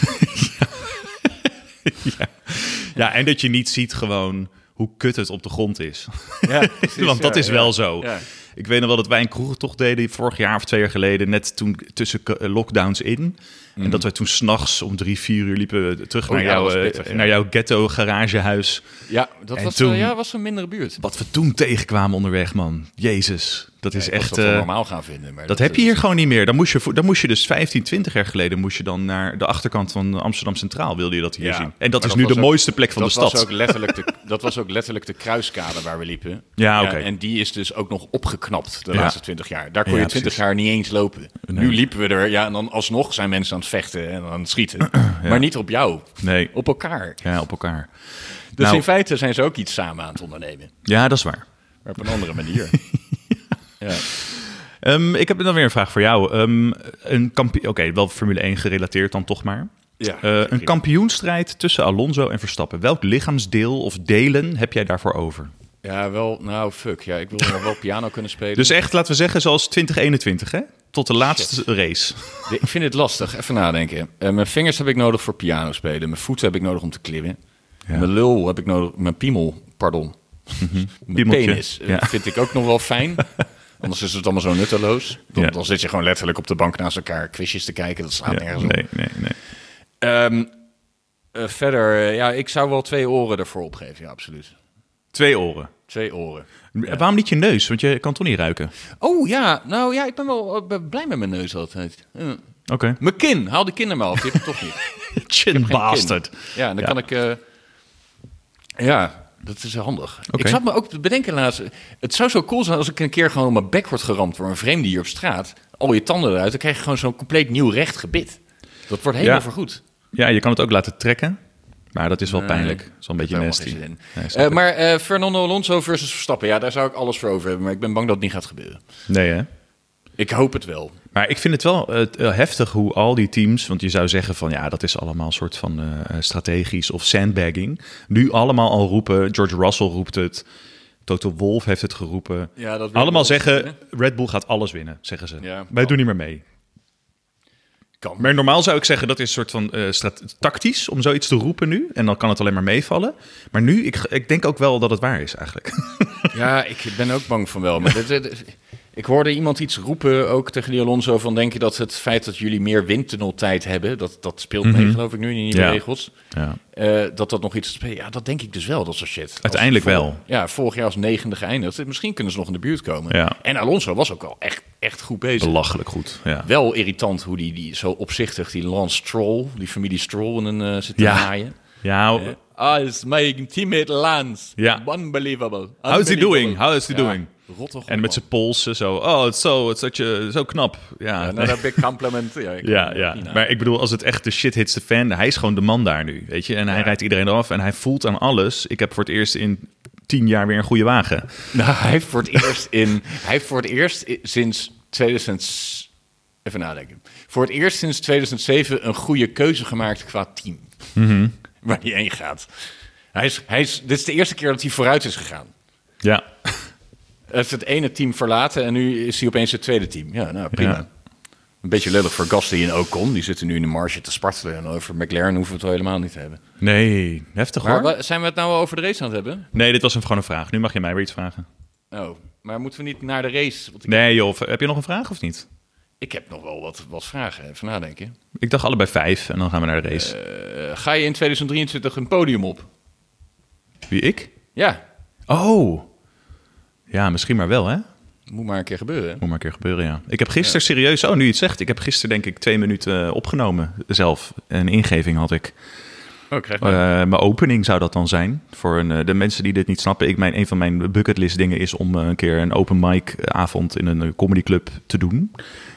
Speaker 3: Ja, en dat je niet ziet gewoon hoe kut het op de grond is.
Speaker 4: Ja,
Speaker 3: *laughs* Want dat is wel zo.
Speaker 4: Ja.
Speaker 3: Ik weet nog wel dat wij een kroegentocht deden vorig jaar of twee jaar geleden, net toen tussen k- eh, lockdowns in. En dat wij toen s'nachts om drie, vier uur liepen we terug naar,
Speaker 4: Mm. Oh ja, dat
Speaker 3: jouw,
Speaker 4: was
Speaker 3: eh,
Speaker 4: pittig, ja.
Speaker 3: naar jouw ghetto garagehuis.
Speaker 4: Ja, dat
Speaker 3: En
Speaker 4: was,
Speaker 3: toen-
Speaker 4: eh, ja, was een mindere buurt.
Speaker 3: Wat we toen tegenkwamen onderweg, man. Jezus, dat is
Speaker 4: Ik was
Speaker 3: echt...
Speaker 4: dat wel
Speaker 3: eh,
Speaker 4: normaal gaan vinden. Maar
Speaker 3: dat heb je hier gewoon niet meer. Dan moest je, voor- dan moest je dus 15, 20 jaar geleden moest je dan naar de achterkant van Amsterdam Centraal, wilde je dat hier
Speaker 4: Ja,
Speaker 3: zien.
Speaker 4: maar
Speaker 3: En dat is
Speaker 4: dat
Speaker 3: nu de
Speaker 4: was ook-
Speaker 3: mooiste plek van de
Speaker 4: dat
Speaker 3: stad.
Speaker 4: Was ook letterlijk de, *laughs* dat was ook letterlijk de kruiskade waar we liepen.
Speaker 3: Ja, oké.
Speaker 4: en die is dus ook nog opgeknapt de
Speaker 3: Ja.
Speaker 4: laatste twintig jaar. Daar kon
Speaker 3: Ja,
Speaker 4: je twintig
Speaker 3: precies.
Speaker 4: jaar niet eens lopen. Nu liepen we er, ja, en dan alsnog zijn mensen aan het vechten en aan het
Speaker 3: *clears throat*
Speaker 4: schieten. Maar niet op jou,
Speaker 3: Nee.
Speaker 4: op elkaar.
Speaker 3: Ja, op elkaar.
Speaker 4: Dus
Speaker 3: Nou.
Speaker 4: in feite zijn ze ook iets samen aan het ondernemen.
Speaker 3: Ja, dat is waar.
Speaker 4: Maar op een andere
Speaker 3: *laughs*
Speaker 4: manier. ja.
Speaker 3: Ehm, ik heb dan weer een vraag voor jou. Ehm, een kampio- Oké, wel Formule 1 gerelateerd dan toch maar.
Speaker 4: Ja,
Speaker 3: Eh, een
Speaker 4: prima.
Speaker 3: kampioenstrijd tussen Alonso en Verstappen. Welk lichaamsdeel of delen heb jij daarvoor over?
Speaker 4: ja, wel, nou fuck. Ja, ik wil nog wel piano kunnen spelen.
Speaker 3: Dus echt, laten we zeggen, zoals 2021, hè? Tot de laatste race.
Speaker 4: De- Ik vind het lastig. Even nadenken. Eh, mijn vingers heb ik nodig voor piano spelen. Mijn voeten heb ik nodig om te klimmen. Mijn lul heb ik nodig. Mijn piemel, pardon. *laughs* mijn
Speaker 3: Mhm. Piemeltje,
Speaker 4: penis. eh,
Speaker 3: ja.
Speaker 4: Vind ik ook nog wel fijn.
Speaker 3: *laughs*
Speaker 4: Anders is het allemaal zo nutteloos. Dan,
Speaker 3: Ja.
Speaker 4: dan zit je gewoon letterlijk op de bank naast elkaar quizjes te kijken. Dat slaat
Speaker 3: Ja,
Speaker 4: nergens op.
Speaker 3: nee, nee, nee.
Speaker 4: Ehm, eh, verder, eh, ja, ik zou wel twee oren ervoor opgeven. Ja, absoluut.
Speaker 3: Twee oren.
Speaker 4: Twee oren.
Speaker 3: Waarom niet je neus? Want je kan toch niet ruiken?
Speaker 4: Oh ja, nou ja, ik ben wel eh, ben blij met mijn neus altijd. Ja.
Speaker 3: Oké. *laughs*
Speaker 4: Mijn kin, haal de kin er maar af. Die heb ik toch niet.
Speaker 3: Chin
Speaker 4: Geen
Speaker 3: bastard.
Speaker 4: kind. Ja, dan kan ik. eh, ja, dat is handig.
Speaker 3: Oké.
Speaker 4: Ik zat me ook te bedenken laatst. Het zou zo cool zijn als ik een keer gewoon op mijn bek word geramd door een vreemde hier op straat. Al je tanden eruit, dan krijg je gewoon zo'n compleet nieuw recht gebit. Dat wordt helemaal
Speaker 3: Ja.
Speaker 4: vergoed.
Speaker 3: Ja, je kan het ook laten trekken. Maar dat is wel
Speaker 4: Nee,
Speaker 3: pijnlijk. Dat is wel een beetje
Speaker 4: Daar helemaal
Speaker 3: nasty.
Speaker 4: geen zin in.
Speaker 3: Nee, snap
Speaker 4: Eh,
Speaker 3: ik.
Speaker 4: maar eh, Fernando Alonso versus Verstappen, ja, daar zou ik alles voor over hebben. Maar ik ben bang dat het niet gaat gebeuren.
Speaker 3: nee hè?
Speaker 4: Ik hoop het wel.
Speaker 3: Maar ik vind het wel eh, t- eh, heftig hoe al die teams, want je zou zeggen van ja, dat is allemaal een soort van eh, strategisch of sandbagging. Nu allemaal al roepen, George Russell roept het, Toto Wolf heeft het geroepen.
Speaker 4: Ja, dat wil ik
Speaker 3: allemaal
Speaker 4: wel
Speaker 3: zeggen,
Speaker 4: zeggen.
Speaker 3: Red Bull gaat alles winnen, zeggen ze.
Speaker 4: Ja,
Speaker 3: Wij
Speaker 4: kan.
Speaker 3: doen niet meer mee.
Speaker 4: Kan.
Speaker 3: Maar normaal zou ik zeggen, dat is een soort van eh, strat- tactisch om zoiets te roepen nu. En dan kan het alleen maar meevallen. Maar nu, ik, ik denk ook wel dat het waar is eigenlijk.
Speaker 4: Ja, ik ben ook bang van wel. Maar dit- dit- ik hoorde iemand iets roepen, ook tegen die Alonso, van denk je dat het feit dat jullie meer windtunneltijd hebben, dat, dat speelt mee geloof ik nu in die nieuwe
Speaker 3: Mhm. Ja.
Speaker 4: regels,
Speaker 3: ja.
Speaker 4: eh, dat dat nog iets... Ja, dat denk ik dus wel, dat soort shit. Als
Speaker 3: Uiteindelijk
Speaker 4: ze vor-
Speaker 3: wel.
Speaker 4: Ja, vorig jaar als negende geëindigd. Misschien kunnen ze nog in de buurt komen.
Speaker 3: Ja.
Speaker 4: En Alonso was ook al echt, echt goed bezig.
Speaker 3: Belachelijk goed. Ja.
Speaker 4: Wel irritant hoe die, die zo opzichtig die Lance Stroll, die familie Stroll, in een, eh, zit te
Speaker 3: Ja.
Speaker 4: naaien.
Speaker 3: Ja, eh,
Speaker 4: Ah, it's my teammate Lance.
Speaker 3: Ja.
Speaker 4: Unbelievable.
Speaker 3: How is he
Speaker 4: Unbelievable.
Speaker 3: doing? How is he doing?
Speaker 4: Rot toch op,
Speaker 3: En met
Speaker 4: man.
Speaker 3: zijn polsen zo. Oh, het is zo, het is dat je, zo knap. Ja,
Speaker 4: Ja, nou,
Speaker 3: nee.
Speaker 4: Another big compliment. Ja, ik-
Speaker 3: *laughs* ja, ja.
Speaker 4: Nina.
Speaker 3: Maar ik bedoel, als het echt de shit hits de fan, hij is gewoon de man daar nu, weet je. En hij rijdt iedereen af en hij voelt aan alles. Ik heb voor het eerst in tien jaar weer een goede wagen.
Speaker 4: Nou, hij heeft voor het eerst in... Hij heeft voor het eerst i- sinds 2000... Even nadenken. Voor het eerst sinds 2007 een goede keuze gemaakt qua team.
Speaker 3: Mhm.
Speaker 4: Waar hij heen gaat. Hij is, hij is, dit is de eerste keer dat hij vooruit is gegaan.
Speaker 3: Ja,
Speaker 4: Hij heeft het ene team verlaten en nu is hij opeens het tweede team. Ja, nou prima.
Speaker 3: Ja.
Speaker 4: Een beetje lullig voor Gasly en Ocon. Die zitten nu in de marge te spartelen. En over McLaren hoeven we het wel helemaal niet te hebben.
Speaker 3: nee, heftig
Speaker 4: Maar
Speaker 3: hoor.
Speaker 4: wa- zijn we het nou al over de race aan het hebben?
Speaker 3: Nee, dit was een, gewoon een vraag. Nu mag je mij weer iets vragen.
Speaker 4: Oh, Maar moeten we niet naar de race? Want ik,
Speaker 3: Nee joh, heb je nog een vraag of niet?
Speaker 4: ik heb nog wel wat, wat vragen. Even nadenken.
Speaker 3: Ik dacht allebei vijf en dan gaan we naar de race.
Speaker 4: Eh, ga je in 2023 een podium op?
Speaker 3: Wie, ik?
Speaker 4: Ja,
Speaker 3: Oh. Ja, misschien maar wel hè.
Speaker 4: moet maar een keer gebeuren. hè?
Speaker 3: Moet maar een keer gebeuren, ja. Ik heb gisteren serieus... Oh, nu je het zegt. Ik heb gisteren denk ik twee minuten eh, opgenomen zelf. Een ingeving had ik.
Speaker 4: Oh, ik krijg
Speaker 3: Eh, mijn opening zou dat dan zijn. Voor een, eh, de mensen die dit niet snappen. Ik, mijn, een van mijn bucketlist dingen is om eh, een keer een open mic avond in een eh, comedyclub te doen.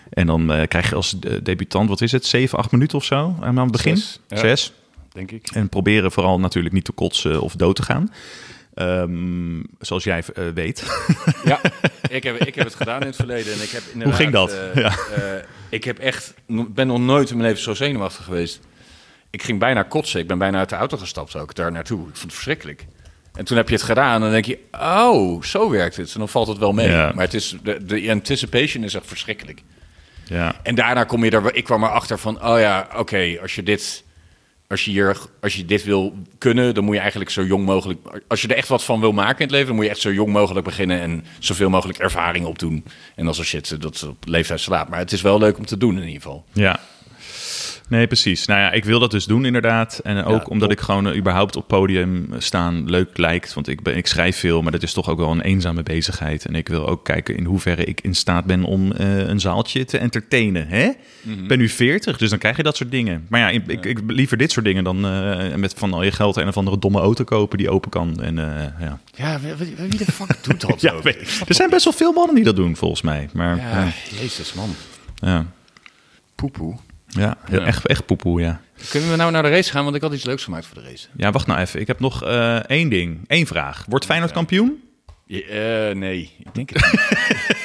Speaker 3: En dan eh, krijg je als eh, debutant, wat is het, zeven, acht minuten of zo aan het begin?
Speaker 4: Zes, ja.
Speaker 3: Zes.
Speaker 4: denk ik.
Speaker 3: En proberen vooral natuurlijk niet te kotsen of dood te gaan. Ehm, zoals jij eh, weet.
Speaker 4: Ja, ik heb, ik heb het gedaan in het verleden. En ik heb inderdaad,
Speaker 3: ging dat?
Speaker 4: eh,
Speaker 3: Ja.
Speaker 4: eh, ik heb echt, ben nog nooit in mijn leven zo zenuwachtig geweest. Ik ging bijna kotsen. Ik ben bijna uit de auto gestapt ook daar naartoe. Ik vond het verschrikkelijk. En toen heb je het gedaan en dan denk je, oh, zo werkt het. En dan valt het wel mee.
Speaker 3: Ja.
Speaker 4: Maar het is, de, de anticipation is echt verschrikkelijk.
Speaker 3: *laughs* ja.
Speaker 4: En daarna kom je er. Ik kwam erachter van: oh ja, oké, als je dit. Als je, hier, als je dit wil kunnen, dan moet je eigenlijk zo jong mogelijk. Als je er echt wat van wil maken in het leven, dan moet je echt zo jong mogelijk beginnen en zoveel mogelijk ervaring opdoen. En als er shit, eh, dat is op leeftijd slaat. Maar het is wel leuk om te doen in ieder geval.
Speaker 3: Ja. Nee, precies. Nou ja, ik wil dat dus doen inderdaad. En ook omdat ik gewoon eh, überhaupt op podium staan leuk lijkt. Want ik, ben, ik schrijf veel, maar dat is toch ook wel een eenzame bezigheid. En ik wil ook kijken in hoeverre ik in staat ben om eh, een zaaltje te entertainen. Hè? Ik ben nu 40, dus dan krijg je dat soort dingen. Maar ja, ik, ik, ik liever dit soort dingen dan eh, met van al je geld een of andere domme auto kopen die open kan. En, eh, ja.
Speaker 4: Ja, wie, wie- wie de fuck doet *laughs* dat?
Speaker 3: Ja,
Speaker 4: ook?
Speaker 3: weet- er zijn best wel veel mannen die dat doen, volgens mij. Maar eh, ja,
Speaker 4: Ja, jezus man.
Speaker 3: ja,
Speaker 4: Poepoe.
Speaker 3: ja, heel- Echt, echt poepoe, ja.
Speaker 4: Kunnen we nou naar de race gaan? Want ik had iets leuks gemaakt voor de race.
Speaker 3: Ja, wacht nou even. Ik heb nog eh, één ding. Eén vraag. Wordt Feyenoord kampioen?
Speaker 4: Je- eh, nee, ik denk het niet.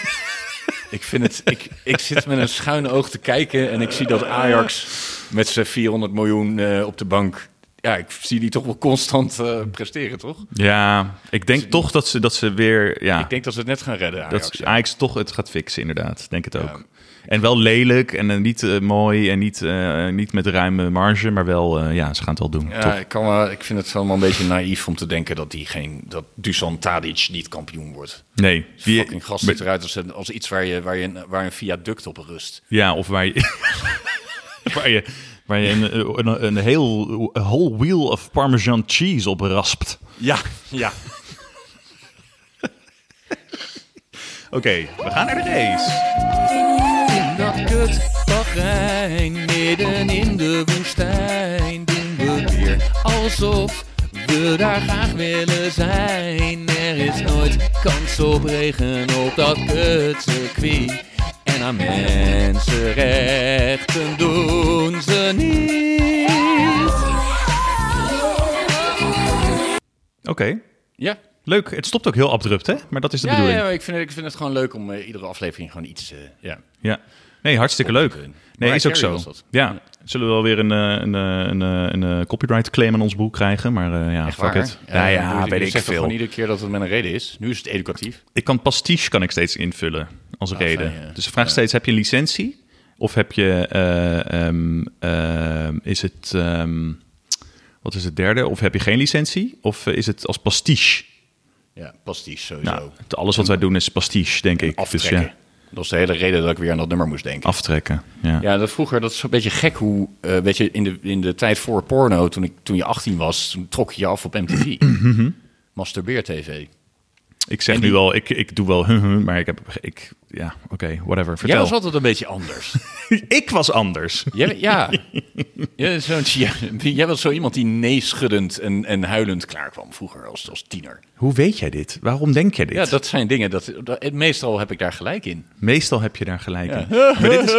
Speaker 4: *laughs* ik, vind het, ik, ik zit met een schuin oog te kijken en ik zie dat Ajax met zijn 400 miljoen eh, op de bank... Ja, ik zie die toch wel constant eh, presteren, toch?
Speaker 3: Ja, ik denk toch dat ze, dat ze weer... Ja,
Speaker 4: Ik denk dat ze het net gaan redden, Ajax.
Speaker 3: dat Ajax toch het gaat fixen, inderdaad. Denk het ook. En wel lelijk en eh, niet eh, mooi en niet, eh, niet met ruime marge. Maar wel, eh, ja, ze gaan het wel doen.
Speaker 4: ja,
Speaker 3: toch?
Speaker 4: ik, kan, wel- ik vind het allemaal een beetje naïef om te denken dat, die geen, dat Dusan Tadic niet kampioen wordt.
Speaker 3: Nee.
Speaker 4: Die
Speaker 3: die-
Speaker 4: fucking gast ziet eruit als, een- als iets waar, je, waar, je, een- waar een viaduct op rust.
Speaker 3: Ja, of waar je... *laughs* waar je, waar je een, eh, een, een heel een whole wheel of Parmesan cheese op raspt.
Speaker 4: Ja, ja.
Speaker 3: Oké, we gaan naar de race.
Speaker 7: In dat kut Bahrein, midden in de woestijn, doen we weer alsof we daar graag willen zijn. Er is nooit kans op regen op dat kutcircuit. En aan mensenrechten doen ze niet.
Speaker 3: Oké,
Speaker 4: Ja,
Speaker 3: leuk. Het stopt ook heel abrupt, hè? Maar dat is de
Speaker 4: ja,
Speaker 3: bedoeling.
Speaker 4: ja, maar ik, vind, ik vind het gewoon leuk om eh, iedere aflevering gewoon iets... eh, ja.
Speaker 3: Ja, nee, hartstikke leuk.
Speaker 4: Mariah
Speaker 3: Nee, is ook
Speaker 4: Carey
Speaker 3: zo.
Speaker 4: was dat.
Speaker 3: Ja, zullen we wel weer een, eh, een, eh, een, eh, een, eh, copyright claim aan ons boek krijgen, maar eh, ja,
Speaker 4: Echt
Speaker 3: fuck
Speaker 4: waar?
Speaker 3: it. Ja, ja,
Speaker 4: je- dus je
Speaker 3: weet ik
Speaker 4: zegt toch
Speaker 3: veel.
Speaker 4: gewoon iedere keer dat het met een reden is. Nu is het educatief.
Speaker 3: Ik kan pastiche kan ik steeds invullen als reden.
Speaker 4: Ah, fijn, ja.
Speaker 3: Dus de vraag steeds, heb je een licentie? Of heb je, eh, ehm, ehm, is het, ehm, wat is het derde? Of heb je geen licentie? Of eh, is het als pastiche?
Speaker 4: Ja, pastiche sowieso.
Speaker 3: Nou, alles wat wij doen is pastiche, denk ik.
Speaker 4: Oh. Aftrekken.
Speaker 3: Dus ja, Ah.
Speaker 4: Dat was de hele reden dat ik weer aan dat nummer moest denken.
Speaker 3: aftrekken, ja.
Speaker 4: Ja, dat vroeger, dat is een beetje gek hoe, eh, weet je, in de, in de tijd voor porno, toen, ik, toen je 18 was, toen trok je je af op MTV.
Speaker 3: Mhm.
Speaker 4: Masturbeer TV.
Speaker 3: Ik zeg nu wel, ik, ik doe wel, *laughs* huh, huh, maar ik heb, ik, ja, oké, whatever,
Speaker 4: Jij
Speaker 3: vertel.
Speaker 4: was altijd een beetje *laughs* anders.
Speaker 3: Ik was
Speaker 4: *laughs*
Speaker 3: anders.
Speaker 4: Jij, ja. Jij, zo'n- ja, jij was zo iemand die neeschuddend en, en huilend klaarkwam vroeger als, als tiener.
Speaker 3: Hoe weet jij dit? Waarom denk jij dit?
Speaker 4: Ja, dat zijn dingen. Dat, dat, meestal heb ik daar gelijk in.
Speaker 3: Meestal heb je daar gelijk in.
Speaker 4: Ja.
Speaker 3: Maar dit, is,
Speaker 4: *laughs*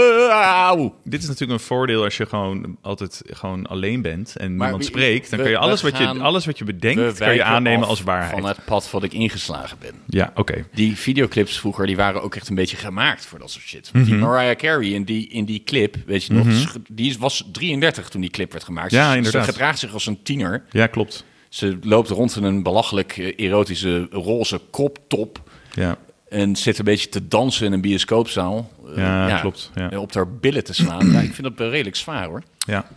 Speaker 4: Auw.
Speaker 3: dit is natuurlijk een voordeel als je gewoon altijd gewoon alleen bent en niemand
Speaker 4: we-
Speaker 3: spreekt. Dan
Speaker 4: we-
Speaker 3: kun je alles,
Speaker 4: we
Speaker 3: wat je,
Speaker 4: gaan-
Speaker 3: alles wat je
Speaker 4: We
Speaker 3: bedenkt, kun je
Speaker 4: wijken
Speaker 3: aannemen
Speaker 4: af
Speaker 3: als waarheid.
Speaker 4: Van het pad wat ik ingeslagen ben.
Speaker 3: Ja, oké.
Speaker 4: Die videoclips vroeger, die waren ook echt een beetje gemaakt voor dat soort shit. Die Mariah Carey in die, in die clip, weet je nog, sch- die is- was 33 toen die clip werd gemaakt.
Speaker 3: Ja,
Speaker 4: Ze-
Speaker 3: inderdaad.
Speaker 4: Ze gedraagt zich als een tiener.
Speaker 3: Ja, klopt.
Speaker 4: Ze loopt rond in een belachelijk eh, erotische roze koptop.
Speaker 3: Ja.
Speaker 4: En zit een beetje te dansen in een bioscoopzaal. Eh,
Speaker 3: Ja, klopt, ja.
Speaker 4: eh, Op haar billen te slaan. ja, ik vind dat wel redelijk zwaar hoor.
Speaker 3: Ja.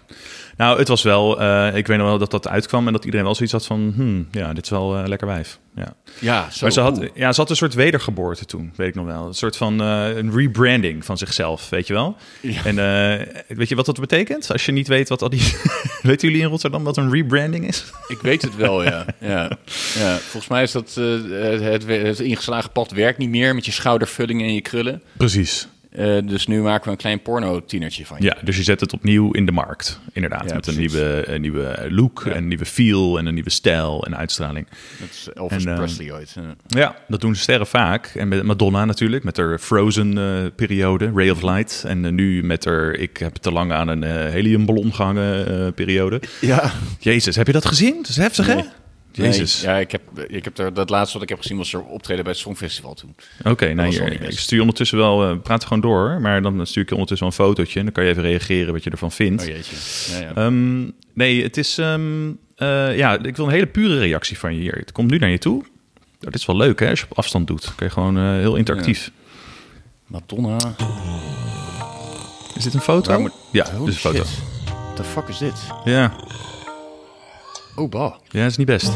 Speaker 3: Nou, het was wel... eh, ik weet nog wel dat dat uitkwam en dat iedereen wel zoiets had van... Hmm, ja, dit is wel eh, lekker wijf. Ja.
Speaker 4: Ja, zo.
Speaker 3: maar ze had,
Speaker 4: oeh.
Speaker 3: ja, ze had een soort wedergeboorte toen, weet ik nog wel. Een soort van eh, een rebranding van zichzelf, weet je wel. En eh, weet je wat dat betekent? Als je niet weet wat al die... *laughs* Weten jullie in Rotterdam wat een rebranding is?
Speaker 4: Ik weet het wel,
Speaker 3: *laughs*
Speaker 4: ja. ja. ja. Volgens mij is dat eh, het, het ingeslagen pad werkt niet meer met je schoudervulling en je krullen.
Speaker 3: Precies.
Speaker 4: Eh, dus nu maken we een klein porno-tienertje van je.
Speaker 3: Ja, dus je zet het opnieuw in de markt, inderdaad.
Speaker 4: Ja,
Speaker 3: met een
Speaker 4: precies.
Speaker 3: nieuwe, een nieuwe eh, look, en een nieuwe feel en een nieuwe stijl en uitstraling.
Speaker 4: Dat is Elvis
Speaker 3: En, eh,
Speaker 4: Presley ooit. ja.
Speaker 3: Ja, dat doen sterren vaak. En met Madonna natuurlijk, met haar Frozen-periode, Ray of Light. En eh, nu met haar Ik heb te lang aan een eh, heliumballon gehangen eh, periode.
Speaker 4: Ja.
Speaker 3: Jezus, heb je dat gezien? Dat is heftig, hè? Jezus.
Speaker 4: Nee, ja, ik heb, ik heb er, dat laatste wat ik heb gezien was er optreden bij het Songfestival toen.
Speaker 3: Oké, nou
Speaker 4: was wel
Speaker 3: hier,
Speaker 4: niet best.
Speaker 3: ik stuur ondertussen wel, eh, praat gewoon door, hoor. maar dan stuur ik je ondertussen wel een fotootje en dan kan je even reageren wat je ervan vindt.
Speaker 4: Oh jeetje. Ja, ja.
Speaker 3: Ehm, nee, het is. ehm, eh, ja, ik wil een hele pure reactie van je hier. Het komt nu naar je toe. Dat is wel leuk, hè? Als je op afstand doet, kun je gewoon eh, heel interactief.
Speaker 4: Madonna.
Speaker 3: Is dit een foto?
Speaker 4: Waar moet-
Speaker 3: Ja,
Speaker 4: Holy
Speaker 3: dit is een foto.
Speaker 4: Oh, shit. What the fuck is dit?
Speaker 3: Ja.
Speaker 4: Oh, bah.
Speaker 3: ja, dat is niet best.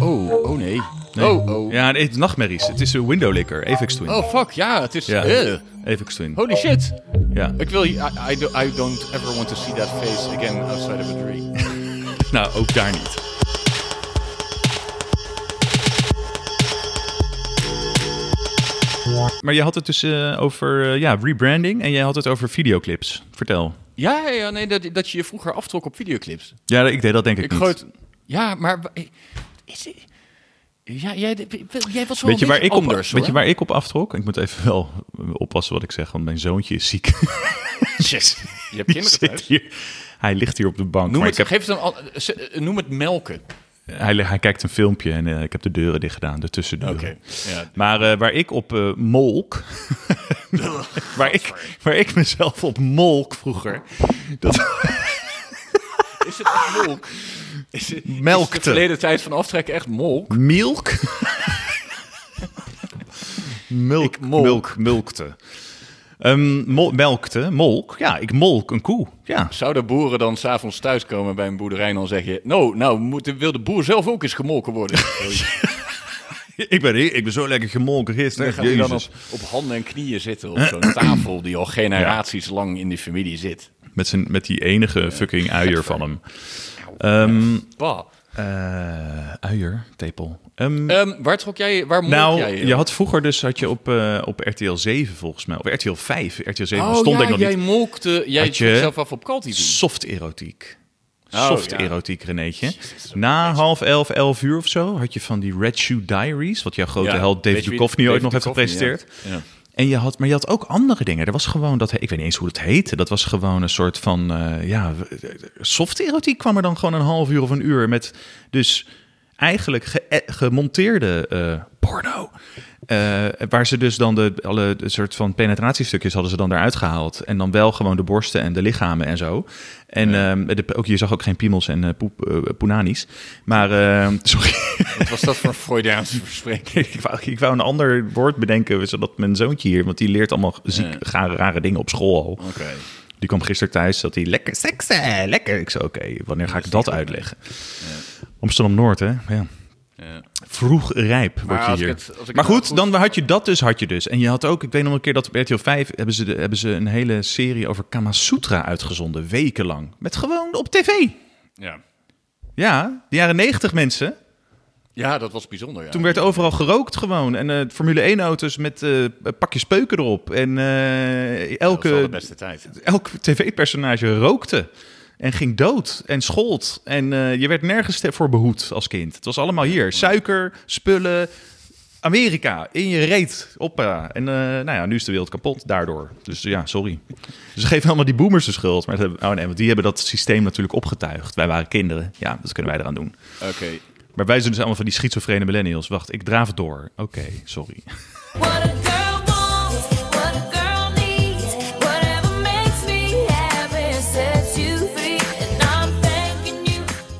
Speaker 4: Oh, oh nee.
Speaker 3: Nee.
Speaker 4: Oh, oh.
Speaker 3: Ja, nee, het is nachtmerries. Het is een windowlicker, Apex Twin.
Speaker 4: Oh, fuck. Ja, het is...
Speaker 3: ja,
Speaker 4: eh.
Speaker 3: Apex Twin.
Speaker 4: Holy shit.
Speaker 3: Ja.
Speaker 4: Ik wil... hier- I, I, do- I don't ever want to see that face again outside of a dream.
Speaker 3: Nou, ook daar niet. Maar je had het dus eh, over eh, ja, rebranding en jij had het over videoclips. Vertel.
Speaker 4: Ja, ja, ja, nee, dat, dat je je vroeger aftrok op videoclips.
Speaker 3: Ja, ik deed dat denk ik,
Speaker 4: Ik
Speaker 3: niet.
Speaker 4: gooi het... Ja, maar... wa- Is ja, jij, jij was wel
Speaker 3: Weet je,
Speaker 4: een
Speaker 3: waar
Speaker 4: beetje
Speaker 3: ik op,
Speaker 4: Oh, anders,
Speaker 3: weet je
Speaker 4: hoor.
Speaker 3: waar ik op aftrok? Ik moet even wel oppassen wat ik zeg, want mijn zoontje is
Speaker 4: *laughs*
Speaker 3: ziek.
Speaker 4: Je hebt
Speaker 3: Die
Speaker 4: kinderen
Speaker 3: zit
Speaker 4: thuis.
Speaker 3: hier. Hij ligt hier op de bank.
Speaker 4: Noem
Speaker 3: maar
Speaker 4: het,
Speaker 3: ik heb,
Speaker 4: geef het een, al- eh, ze- eh, noem het melken.
Speaker 3: hij, li- hij kijkt een filmpje en eh, ik heb de deuren dicht gedaan, de tussendeuren.
Speaker 4: Oké, ja.
Speaker 3: Maar eh, waar ik op eh,
Speaker 4: *laughs*
Speaker 3: molk, waar, ik, waar ik mezelf op molk vroeger, dat
Speaker 4: Is het echt
Speaker 3: *laughs*
Speaker 4: molk? Is het, is de
Speaker 3: melkte.
Speaker 4: verleden tijd van aftrekken echt molk?
Speaker 3: Milk? Milk,
Speaker 4: molk.
Speaker 3: milk, milkte. Ehm, mol- melkte, molk. Ja, ik molk een koe. Ja,
Speaker 4: Zouden boeren dan s'avonds thuiskomen bij een boerderij en dan zeg je... Nou, nou moet, de- wil de boer zelf ook eens gemolken
Speaker 3: *laughs*
Speaker 4: worden?
Speaker 3: Ik ben, ik ben zo lekker gemolken
Speaker 4: Dan
Speaker 3: gisteren.
Speaker 4: gaat hij dan op, op handen en knieën zitten op
Speaker 3: *clears throat*
Speaker 4: zo'n tafel die al generaties lang in die familie zit.
Speaker 3: Met, zijn, met die enige fucking uier van hem. Ehm
Speaker 4: Pa.
Speaker 3: eh, uier? Tepel. Ehm,
Speaker 4: Ehm, waar trok jij Waar molk
Speaker 3: nou,
Speaker 4: jij eh?
Speaker 3: je had vroeger dus had je op, eh, op RTL 7 volgens mij. Of RTL 5. RTL 7
Speaker 4: Oh
Speaker 3: stond
Speaker 4: ja,
Speaker 3: ik nog
Speaker 4: jij
Speaker 3: niet.
Speaker 4: molkte... Jij
Speaker 3: Had je-
Speaker 4: trok zelf af op kaltie
Speaker 3: Soft erotiek.
Speaker 4: Oh,
Speaker 3: Soft
Speaker 4: ja.
Speaker 3: erotiek, Renéetje. Na half elf, elf uur of zo had je van die Red Shoe Diaries. Wat jouw grote held David Duchovny ooit nog heeft gepresenteerd.
Speaker 4: Ja.
Speaker 3: En je had, maar je had ook andere dingen. Er was gewoon dat, ik weet niet eens hoe dat heette. Dat was gewoon een soort van, eh, ja, soft erotiek kwam er dan gewoon een half uur of een uur met dus eigenlijk ge- eh, gemonteerde eh, porno. Eh, waar ze dus dan de alle soort van penetratiestukjes hadden ze dan eruit gehaald en dan wel gewoon de borsten en de lichamen en zo. En ehm, de, ook je zag ook geen piemels en eh poep, eh, poenanis. Maar ehm, *laughs* sorry.
Speaker 4: Wat was dat voor een Freudiaanse verspreking?
Speaker 3: *laughs* Ik wou, ik wou een ander woord bedenken, zodat mijn zoontje hier, want die leert allemaal ziek,
Speaker 4: Ja.
Speaker 3: gare, rare dingen op school al.
Speaker 4: Oké.
Speaker 3: Die kwam gisteren thuis, dat hij lekker seksen, lekker. Ik zei, oké, wanneer ga ik dat uitleggen? Amsterdam-Noord, hè? Ja.
Speaker 4: Ja.
Speaker 3: Vroeg rijp word je
Speaker 4: als ik
Speaker 3: hier.
Speaker 4: het- als ik het
Speaker 3: maar
Speaker 4: nou
Speaker 3: goed,
Speaker 4: goed-
Speaker 3: dan had je dat dus, had je dus. En je had ook, ik weet nog een keer dat op RTL 5 hebben ze, de, hebben ze een hele serie over Kama Sutra uitgezonden, wekenlang. Met gewoon op tv.
Speaker 4: Ja.
Speaker 3: Ja, de jaren 90 mensen.
Speaker 4: ja, dat was bijzonder. Ja.
Speaker 3: Toen werd overal gerookt gewoon. En eh, Formule 1-auto's met eh pakjes peuken erop. En eh,
Speaker 4: Dat was wel de
Speaker 3: elke,
Speaker 4: beste tijd.
Speaker 3: elk tv-personage rookte. En ging dood en schold. En eh, je werd nergens te- voor behoed als kind. Het was allemaal hier. Suiker, spullen, Amerika. In je reet. Oppa. En eh, nou ja, nu is de wereld kapot daardoor. Dus ja, sorry. Dus ze geven allemaal die boomers de schuld. Maar dat hebben- oh nee, want die hebben dat systeem natuurlijk opgetuigd. Wij waren kinderen. Ja, dat kunnen wij eraan doen.
Speaker 4: Oké.
Speaker 3: Maar wij zijn dus allemaal van die schizofrene millennials. Wacht, ik draaf het door. Oké, sorry. *laughs*
Speaker 8: What a girl wants, what a girl needs, whatever makes me happy sets you free, and I'm thanking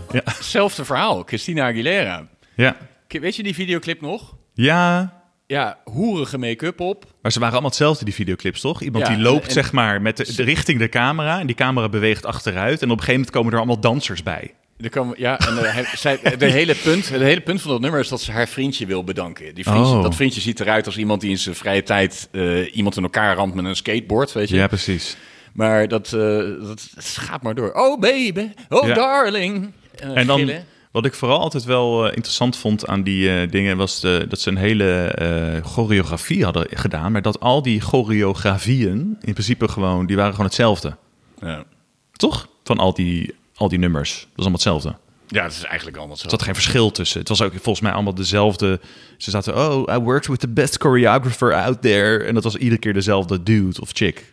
Speaker 8: you.
Speaker 4: Hetzelfde verhaal. Christina Aguilera.
Speaker 3: Ja.
Speaker 4: Weet je die videoclip nog?
Speaker 3: Ja.
Speaker 4: ja, hoerige make-up op.
Speaker 3: Maar ze waren allemaal hetzelfde, die videoclips, toch? Iemand
Speaker 4: Ja,
Speaker 3: die loopt,
Speaker 4: en- en-
Speaker 3: zeg maar, met de, de- richting de camera. En die camera beweegt achteruit. En op een gegeven moment komen er allemaal dansers bij.
Speaker 4: Er kwam, ja, en eh, hij- zij, de hele punt, het hele punt van dat nummer is dat ze haar vriendje wil bedanken. Die vriendje,
Speaker 3: Oh.
Speaker 4: Dat vriendje ziet eruit als iemand die in zijn vrije tijd eh, iemand in elkaar ramt met een skateboard, weet je.
Speaker 3: precies.
Speaker 4: Maar dat, eh, dat, dat gaat maar door. Oh baby, oh
Speaker 3: Ja.
Speaker 4: darling. Eh,
Speaker 3: En dan,
Speaker 4: gillen.
Speaker 3: wat ik vooral altijd wel eh, interessant vond aan die eh, dingen, was de, dat ze een hele eh, choreografie hadden gedaan. Maar dat al die choreografieën in principe gewoon, die waren gewoon hetzelfde.
Speaker 4: Ja.
Speaker 3: Toch? Van al die, al die nummers. Dat is allemaal hetzelfde. Er
Speaker 4: ja, dat is eigenlijk allemaal zo.
Speaker 3: zat geen verschil tussen. Het was ook volgens mij allemaal dezelfde. Ze zaten, oh, I worked with the best choreographer out there. En dat was iedere keer dezelfde dude of chick.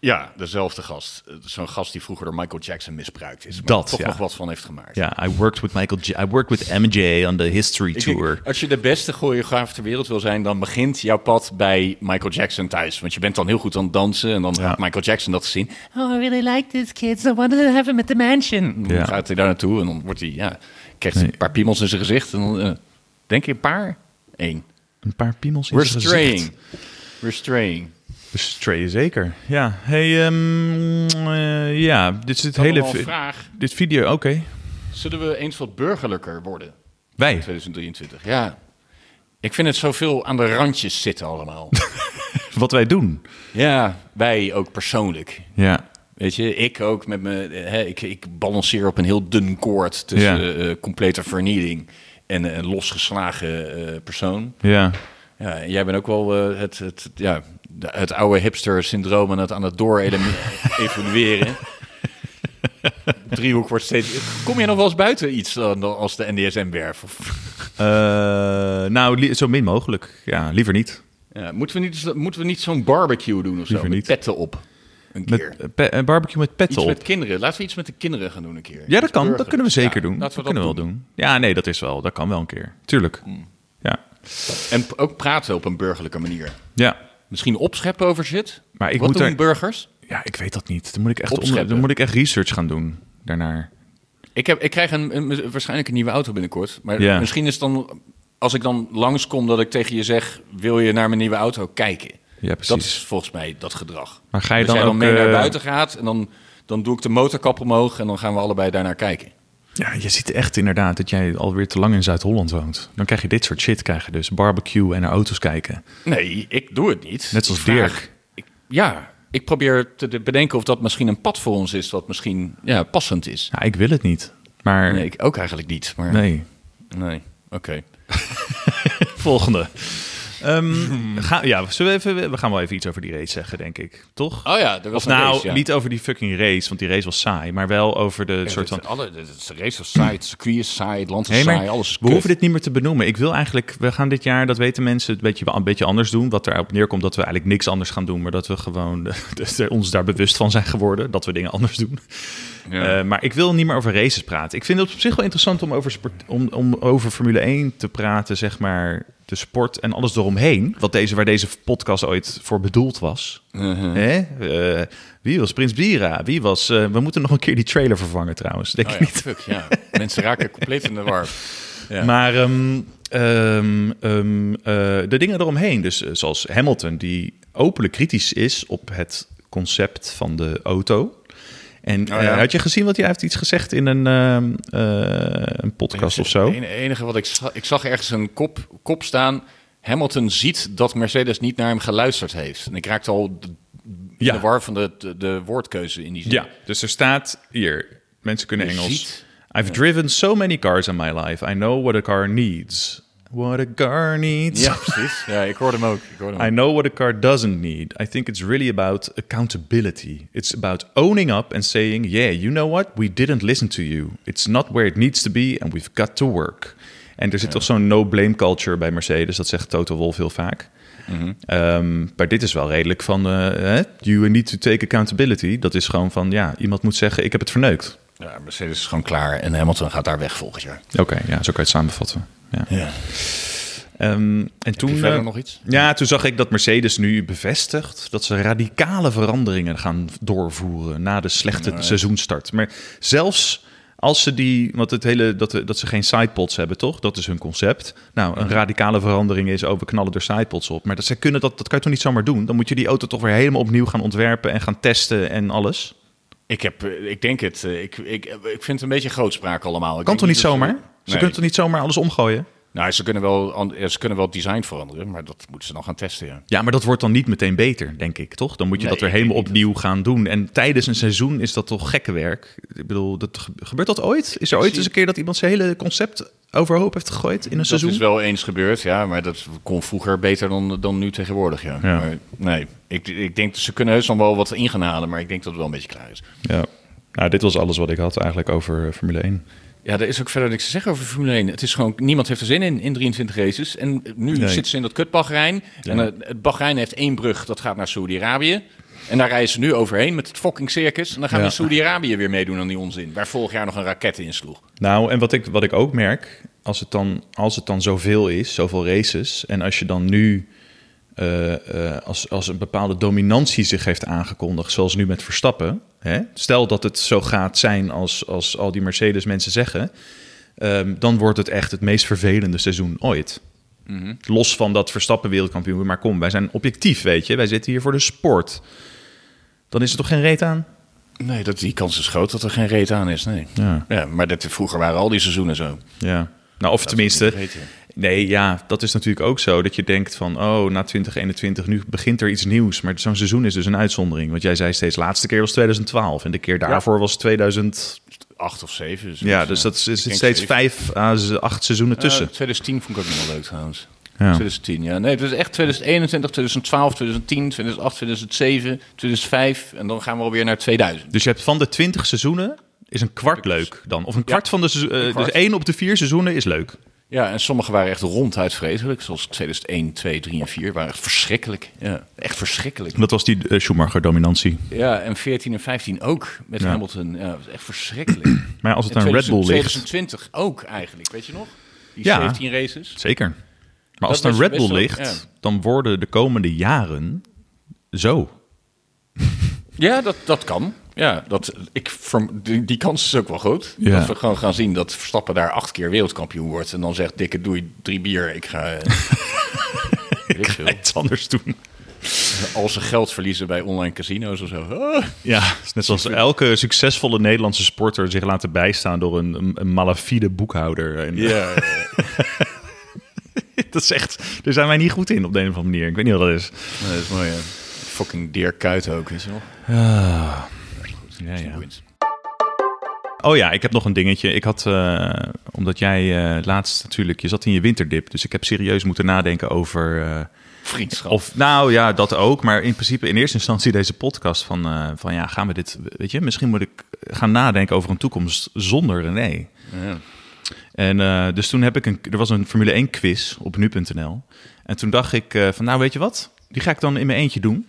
Speaker 4: Ja, dezelfde gast. Eh, Zo'n gast die vroeger door Michael Jackson misbruikt is. Maar
Speaker 3: Dat,
Speaker 4: toch
Speaker 3: ja.
Speaker 4: nog wat van heeft gemaakt.
Speaker 3: Ja, I worked with Michael J. I worked with MJ on the history
Speaker 4: Ik denk,
Speaker 3: tour.
Speaker 4: als je de beste choreograaf ter wereld wil zijn, dan begint jouw pad bij Michael Jackson thuis. Want je bent dan heel goed aan het dansen en dan gaat Michael Jackson dat zien.
Speaker 6: Oh, I really like this, kids. I want to have him at the mansion.
Speaker 4: Dan
Speaker 3: Ja.
Speaker 4: gaat hij daar naartoe en dan wordt hij, ja, krijgt hij een paar piemels in zijn gezicht. En dan, eh, denk je een paar? Eén.
Speaker 3: Een paar piemels in
Speaker 4: We're
Speaker 3: zijn
Speaker 4: straying.
Speaker 3: gezicht.
Speaker 4: We're straying.
Speaker 3: Dus Stray zeker. Ja, hey, ehm, eh, ja, dit is het hele...
Speaker 4: Allemaal
Speaker 3: vi-
Speaker 4: vraag.
Speaker 3: Dit video, oké.
Speaker 4: Zullen we eens wat burgerlijker worden?
Speaker 3: Wij.
Speaker 4: 2023. Ja. Ik vind het zoveel aan de randjes zitten allemaal. *laughs*
Speaker 3: Wat wij doen.
Speaker 4: ja, wij ook persoonlijk.
Speaker 3: Ja.
Speaker 4: Weet je, ik ook met me. eh, Hè, ik, ik balanceer op een heel dun koord tussen
Speaker 3: Ja.
Speaker 4: eh, complete vernieling en eh, een losgeslagen eh, persoon.
Speaker 3: Ja.
Speaker 4: Ja, en jij bent ook wel eh, het, het, ja, de- het oude hipster-syndroom en het aan het *laughs* door-evolueren. Driehoek wordt steeds. Kom je nog wel eens buiten iets dan als de NDSM-werf?
Speaker 3: Eh, nou, li- zo min mogelijk. Ja, liever niet.
Speaker 4: *laughs* Ja, moeten we niet, moeten we niet zo'n barbecue doen of zo?
Speaker 3: Liever
Speaker 4: Met
Speaker 3: niet.
Speaker 4: petten op. Een
Speaker 3: Met,
Speaker 4: keer.
Speaker 3: eh, pe- eh, barbecue met pet
Speaker 4: Iets
Speaker 3: op.
Speaker 4: met kinderen. Laten we iets met de kinderen gaan doen een keer.
Speaker 3: Ja, dat
Speaker 4: Iets
Speaker 3: kan. Dat
Speaker 4: burgerlijks.
Speaker 3: kunnen we zeker
Speaker 4: Ja,
Speaker 3: doen.
Speaker 4: Laten we dat,
Speaker 3: kunnen
Speaker 4: doen. Hmm.
Speaker 3: we wel doen. Ja, nee, dat is wel. Dat kan wel een keer. Tuurlijk. Ja.
Speaker 4: En p- ook praten op een burgerlijke manier.
Speaker 3: Ja.
Speaker 4: Misschien opscheppen over shit.
Speaker 3: Maar ik
Speaker 4: Wat
Speaker 3: moet
Speaker 4: doen
Speaker 3: er-
Speaker 4: burgers?
Speaker 3: Ja, ik weet dat niet. Dan moet ik echt, onder,
Speaker 4: Opscheppen.
Speaker 3: dan moet ik echt research gaan doen daarnaar.
Speaker 4: Ik, heb, ik krijg een, een- waarschijnlijk een nieuwe auto binnenkort. Maar
Speaker 3: Ja.
Speaker 4: misschien is het dan... Als ik dan langskom dat ik tegen je zeg... Wil je naar mijn nieuwe auto kijken?
Speaker 3: Ja, precies.
Speaker 4: Dat is volgens mij dat gedrag.
Speaker 3: Maar ga je
Speaker 4: dat
Speaker 3: dan
Speaker 4: jij dan
Speaker 3: ook,
Speaker 4: mee naar
Speaker 3: eh,
Speaker 4: buiten gaat... en dan, dan doe ik de motorkap omhoog... en dan gaan we allebei daarnaar kijken.
Speaker 3: Ja, je ziet echt inderdaad dat jij alweer te lang in Zuid-Holland woont. Dan krijg je dit soort shit, krijg je dus barbecue en naar auto's kijken.
Speaker 4: Nee, ik doe het niet.
Speaker 3: Net zoals
Speaker 4: Ik vraag-
Speaker 3: Dirk.
Speaker 4: ik- ja, ik probeer te te bedenken of dat misschien een pad voor ons is... dat misschien ja, passend is.
Speaker 3: Ja, ik wil het niet. Maar
Speaker 4: Nee,
Speaker 3: nee.
Speaker 4: ik ook eigenlijk niet. Maar Nee, oké.
Speaker 3: Volgende. Ehm, ga, ja, zullen we, even, we gaan wel even iets over die race zeggen, denk ik. Toch?
Speaker 4: Oh ja, er was
Speaker 3: Of
Speaker 4: een
Speaker 3: nou,
Speaker 4: race, ja.
Speaker 3: niet over die fucking race, want die race was saai. Maar wel over de soort van...
Speaker 4: alle, dit is race is saai, het circuit is saai, het land is
Speaker 3: Hey, maar
Speaker 4: saai, alles is
Speaker 3: we hoeven dit niet meer te benoemen. Ik wil eigenlijk, we gaan dit jaar, dat weten mensen, het beetje, een beetje anders doen. Wat erop neerkomt dat we eigenlijk niks anders gaan doen, maar dat we gewoon *laughs* dat we ons daar bewust van zijn geworden dat we dingen anders doen. Eh, maar ik wil niet meer over races praten. Ik vind het op zich wel interessant om over, sport, om, om over Formule 1 te praten, zeg maar, de sport en alles eromheen. Wat deze, waar deze podcast ooit voor bedoeld was.
Speaker 4: Uh-huh.
Speaker 3: Hè? Eh, wie was Prins Bira? Wie was... eh, we moeten nog een keer die trailer vervangen trouwens, denk
Speaker 4: Oh
Speaker 3: ik
Speaker 4: ja,
Speaker 3: niet.
Speaker 4: fuck, ja. Mensen raken compleet in de
Speaker 3: *laughs*
Speaker 4: war. Ja.
Speaker 3: Maar ehm, ehm, ehm, eh, de dingen eromheen, dus eh, zoals Hamilton, die openlijk kritisch is op het concept van de auto. En
Speaker 4: Oh ja.
Speaker 3: eh, had je gezien wat hij heeft iets gezegd in een, ehm, eh, een podcast of zo?
Speaker 4: Het enige, enige wat ik zag, ik zag ergens een kop, kop staan. Hamilton ziet dat Mercedes niet naar hem geluisterd heeft. En ik raakte al de,
Speaker 3: Ja.
Speaker 4: de war van de, de, de woordkeuze in die zin.
Speaker 3: Ja, dus er staat hier, mensen kunnen
Speaker 4: Je
Speaker 3: Engels.
Speaker 4: ziet-
Speaker 3: I've driven so many cars in my life. I know what a car needs. What a car needs. *laughs*
Speaker 4: Ja, precies. Ja, ik hoorde hem ook. Ik hoorde hem
Speaker 3: I
Speaker 4: ook.
Speaker 3: know what a car doesn't need. I think it's really about accountability. It's about owning up and saying, yeah, you know what? We didn't listen to you. It's not where it needs to be and we've got to work. En er zit toch zo'n no-blame culture bij Mercedes. Dat zegt Toto Wolff heel vaak. Ehm, maar dit is wel redelijk van, eh, hè, you need to take accountability. Dat is gewoon van, ja, iemand moet zeggen, ik heb het verneukt.
Speaker 4: Ja, Mercedes is gewoon klaar en Hamilton gaat daar weg volgend jaar.
Speaker 3: Oké, ja, zo kan je het samenvatten. Ja.
Speaker 4: Ja.
Speaker 3: Ehm, en toen,
Speaker 4: verder
Speaker 3: eh,
Speaker 4: nog iets?
Speaker 3: Ja, toen zag ik dat Mercedes nu bevestigt dat ze radicale veranderingen gaan doorvoeren na de slechte seizoenstart. Maar zelfs Als ze die, want het hele, dat, eh, dat ze geen sidepods hebben, toch? Dat is hun concept. Nou, een radicale verandering is, oh, we knallen er sidepods op. Maar dat, ze kunnen dat, dat kan je toch niet zomaar doen? Dan moet je die auto toch weer helemaal opnieuw gaan ontwerpen en gaan testen en alles.
Speaker 4: Ik, heb, eh, ik denk het. eh, Ik, ik, ik vind het een beetje grootspraak allemaal.
Speaker 3: Kan
Speaker 4: Ik denk
Speaker 3: toch niet
Speaker 4: dat
Speaker 3: zomaar? Ze
Speaker 4: Nee.
Speaker 3: kunnen toch niet zomaar alles omgooien?
Speaker 4: Nou, ze kunnen, wel, an- eh, ze kunnen wel het design veranderen, maar dat moeten ze nog gaan testen, ja.
Speaker 3: Ja, maar dat wordt dan niet meteen beter, denk ik, toch? Dan moet je
Speaker 4: Nee,
Speaker 3: dat weer
Speaker 4: ik denk
Speaker 3: helemaal
Speaker 4: niet
Speaker 3: opnieuw gaan doen. En tijdens een seizoen is dat toch gekke werk? Ik bedoel, dat, ge- gebeurt dat ooit? Is er ooit
Speaker 4: zie-
Speaker 3: eens een keer dat iemand zijn hele concept overhoop heeft gegooid in een
Speaker 4: Dat
Speaker 3: seizoen?
Speaker 4: is wel eens gebeurd, ja, maar dat kon vroeger beter dan, dan nu tegenwoordig, ja.
Speaker 3: Ja.
Speaker 4: Maar nee, ik, ik denk dat ze kunnen heus nog wel wat in gaan halen, maar ik denk dat het wel een beetje klaar is.
Speaker 3: Ja. Nou, dit was alles wat ik had eigenlijk over eh, Formule 1.
Speaker 4: Ja, er is ook verder niks te zeggen over Formule 1. Het is gewoon, niemand heeft er zin in, in 23 races. En nu
Speaker 3: Nee.
Speaker 4: zitten ze in dat kut Bahrein. En eh, het Bahrein heeft één brug, dat gaat naar Saudi-Arabië. En daar rijden ze nu overheen met het fucking circus. En dan gaan
Speaker 3: Ja.
Speaker 4: we in Saudi-Arabië weer meedoen aan die onzin. Waar vorig jaar nog een raket in sloeg.
Speaker 3: Nou, en wat ik, wat ik ook merk, als het, dan, als het dan zoveel is, zoveel races, en als je dan nu eh, eh, als, als een bepaalde dominantie zich heeft aangekondigd, zoals nu met Verstappen, hè? stel dat het zo gaat zijn als, als al die Mercedes mensen zeggen, ehm, dan wordt het echt het meest vervelende seizoen ooit. Los van dat Verstappen wereldkampioen, wordt, maar kom, wij zijn objectief, weet je, wij zitten hier voor de sport. Dan is er toch geen reet aan?
Speaker 4: Nee, dat, die kans is groot dat er geen reet aan is, nee.
Speaker 3: Ja.
Speaker 4: maar dat, vroeger waren al die seizoenen zo.
Speaker 3: Ja. Nou, of
Speaker 4: niet
Speaker 3: tenminste,
Speaker 4: vergeten.
Speaker 3: nee, ja, dat is natuurlijk ook zo. Dat je denkt van, oh, na 2021, nu begint er iets nieuws. Maar zo'n seizoen is dus een uitzondering. Want jij zei steeds, laatste keer was 2012. En de keer daarvoor was 2000.
Speaker 4: Acht of zeven. zoiets,
Speaker 3: Ja, dus dat is,
Speaker 4: Ik
Speaker 3: is
Speaker 4: denk
Speaker 3: steeds
Speaker 4: zeven.
Speaker 3: vijf à z- acht seizoenen tussen.
Speaker 4: Eh, 2010 vond ik ook nog wel leuk trouwens.
Speaker 3: Ja.
Speaker 4: 2010, ja. Nee, het is echt 2021, 2012, 2010, 2008, 2007, 2005. En dan gaan we alweer naar 2000.
Speaker 3: Dus je hebt van de 20 seizoenen is een kwart leuk dan. Of een kwart van de seizoen- eh,
Speaker 4: kwart.
Speaker 3: Dus één op de vier seizoenen is leuk.
Speaker 4: Ja, en sommige waren echt ronduit vreselijk. Zoals 2001, 2, 3 en 4 waren echt verschrikkelijk. Ja, echt verschrikkelijk.
Speaker 3: Dat was die eh, Schumacher-dominantie.
Speaker 4: Ja, en 14 en 15 ook met
Speaker 3: Ja.
Speaker 4: Hamilton. Ja, dat was echt verschrikkelijk.
Speaker 3: *clears throat* Maar als het
Speaker 4: En
Speaker 3: aan Red Bull ligt,
Speaker 4: 2020 ook eigenlijk, weet je nog? Die
Speaker 3: Ja.
Speaker 4: 17 races.
Speaker 3: Zeker. Maar als het
Speaker 4: Dat
Speaker 3: aan
Speaker 4: was
Speaker 3: Red Bull ligt,
Speaker 4: best wel-
Speaker 3: dan worden de komende jaren zo.
Speaker 4: Ja, dat, dat kan. Ja, dat, ik, verm- die, die kans is ook wel groot.
Speaker 3: Ja.
Speaker 4: Dat we gewoon gaan zien dat Verstappen daar acht keer wereldkampioen wordt. En dan zegt dikke doei, drie bier. Ik ga *laughs* eh, weet ik veel,
Speaker 3: Iets anders doen.
Speaker 4: al zijn geld verliezen bij online casino's of zo. Ah.
Speaker 3: Ja, het is net zoals elke succesvolle Nederlandse sporter zich laten bijstaan door een, een, een malafide boekhouder. En,
Speaker 4: Ja,
Speaker 3: *laughs* dat is echt, daar zijn wij niet goed in op de een of andere manier. Ik weet niet wat dat is.
Speaker 4: dat is mooi. hè. Fucking Dirk Kuyt ook, weet je wel. Ah.
Speaker 3: Ja, ja.
Speaker 4: Boeiend.
Speaker 3: Oh ja, ik heb nog een dingetje. Ik had, eh, omdat jij eh, laatst natuurlijk, je zat in je winterdip. Dus ik heb serieus moeten nadenken over... eh,
Speaker 4: Vriendschap.
Speaker 3: Of nou ja, dat ook. Maar in principe in eerste instantie deze podcast van, eh, van ja, gaan we dit, weet je, misschien moet ik gaan nadenken over een toekomst zonder René. En eh, dus toen heb ik een, er was een Formule 1 quiz op nu.nl. En toen dacht ik eh, van nou weet je wat, die ga ik dan in mijn eentje doen.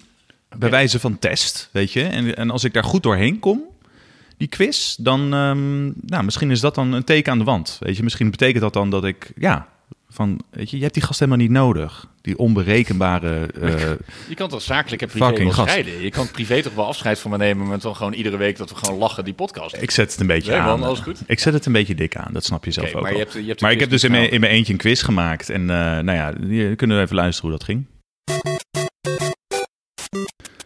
Speaker 3: Bij wijze van test, weet je. En, en als ik daar goed doorheen kom, die quiz, dan ehm, nou, misschien is dat dan een teken aan de wand. Weet je, misschien betekent dat dan dat ik, ja, van, weet je, je hebt die gast helemaal niet nodig. Die onberekenbare. eh,
Speaker 4: Je kan toch zakelijk en privé
Speaker 3: Fucking
Speaker 4: wel
Speaker 3: gast.
Speaker 4: scheiden? Je kan privé toch wel afscheid van me nemen... maar dan gewoon iedere week dat we gewoon lachen die podcast.
Speaker 3: ik zet het een beetje
Speaker 4: Nee,
Speaker 3: aan.
Speaker 4: man, alles goed?
Speaker 3: Ik zet het een beetje dik aan, dat snap je zelf
Speaker 4: Oké,
Speaker 3: ook.
Speaker 4: maar je
Speaker 3: al.
Speaker 4: hebt- je hebt de
Speaker 3: maar ik heb
Speaker 4: quiz
Speaker 3: dus in
Speaker 4: niet
Speaker 3: mijn, in mijn eentje een quiz gemaakt. En eh, nou ja, hier kunnen we even luisteren hoe dat ging.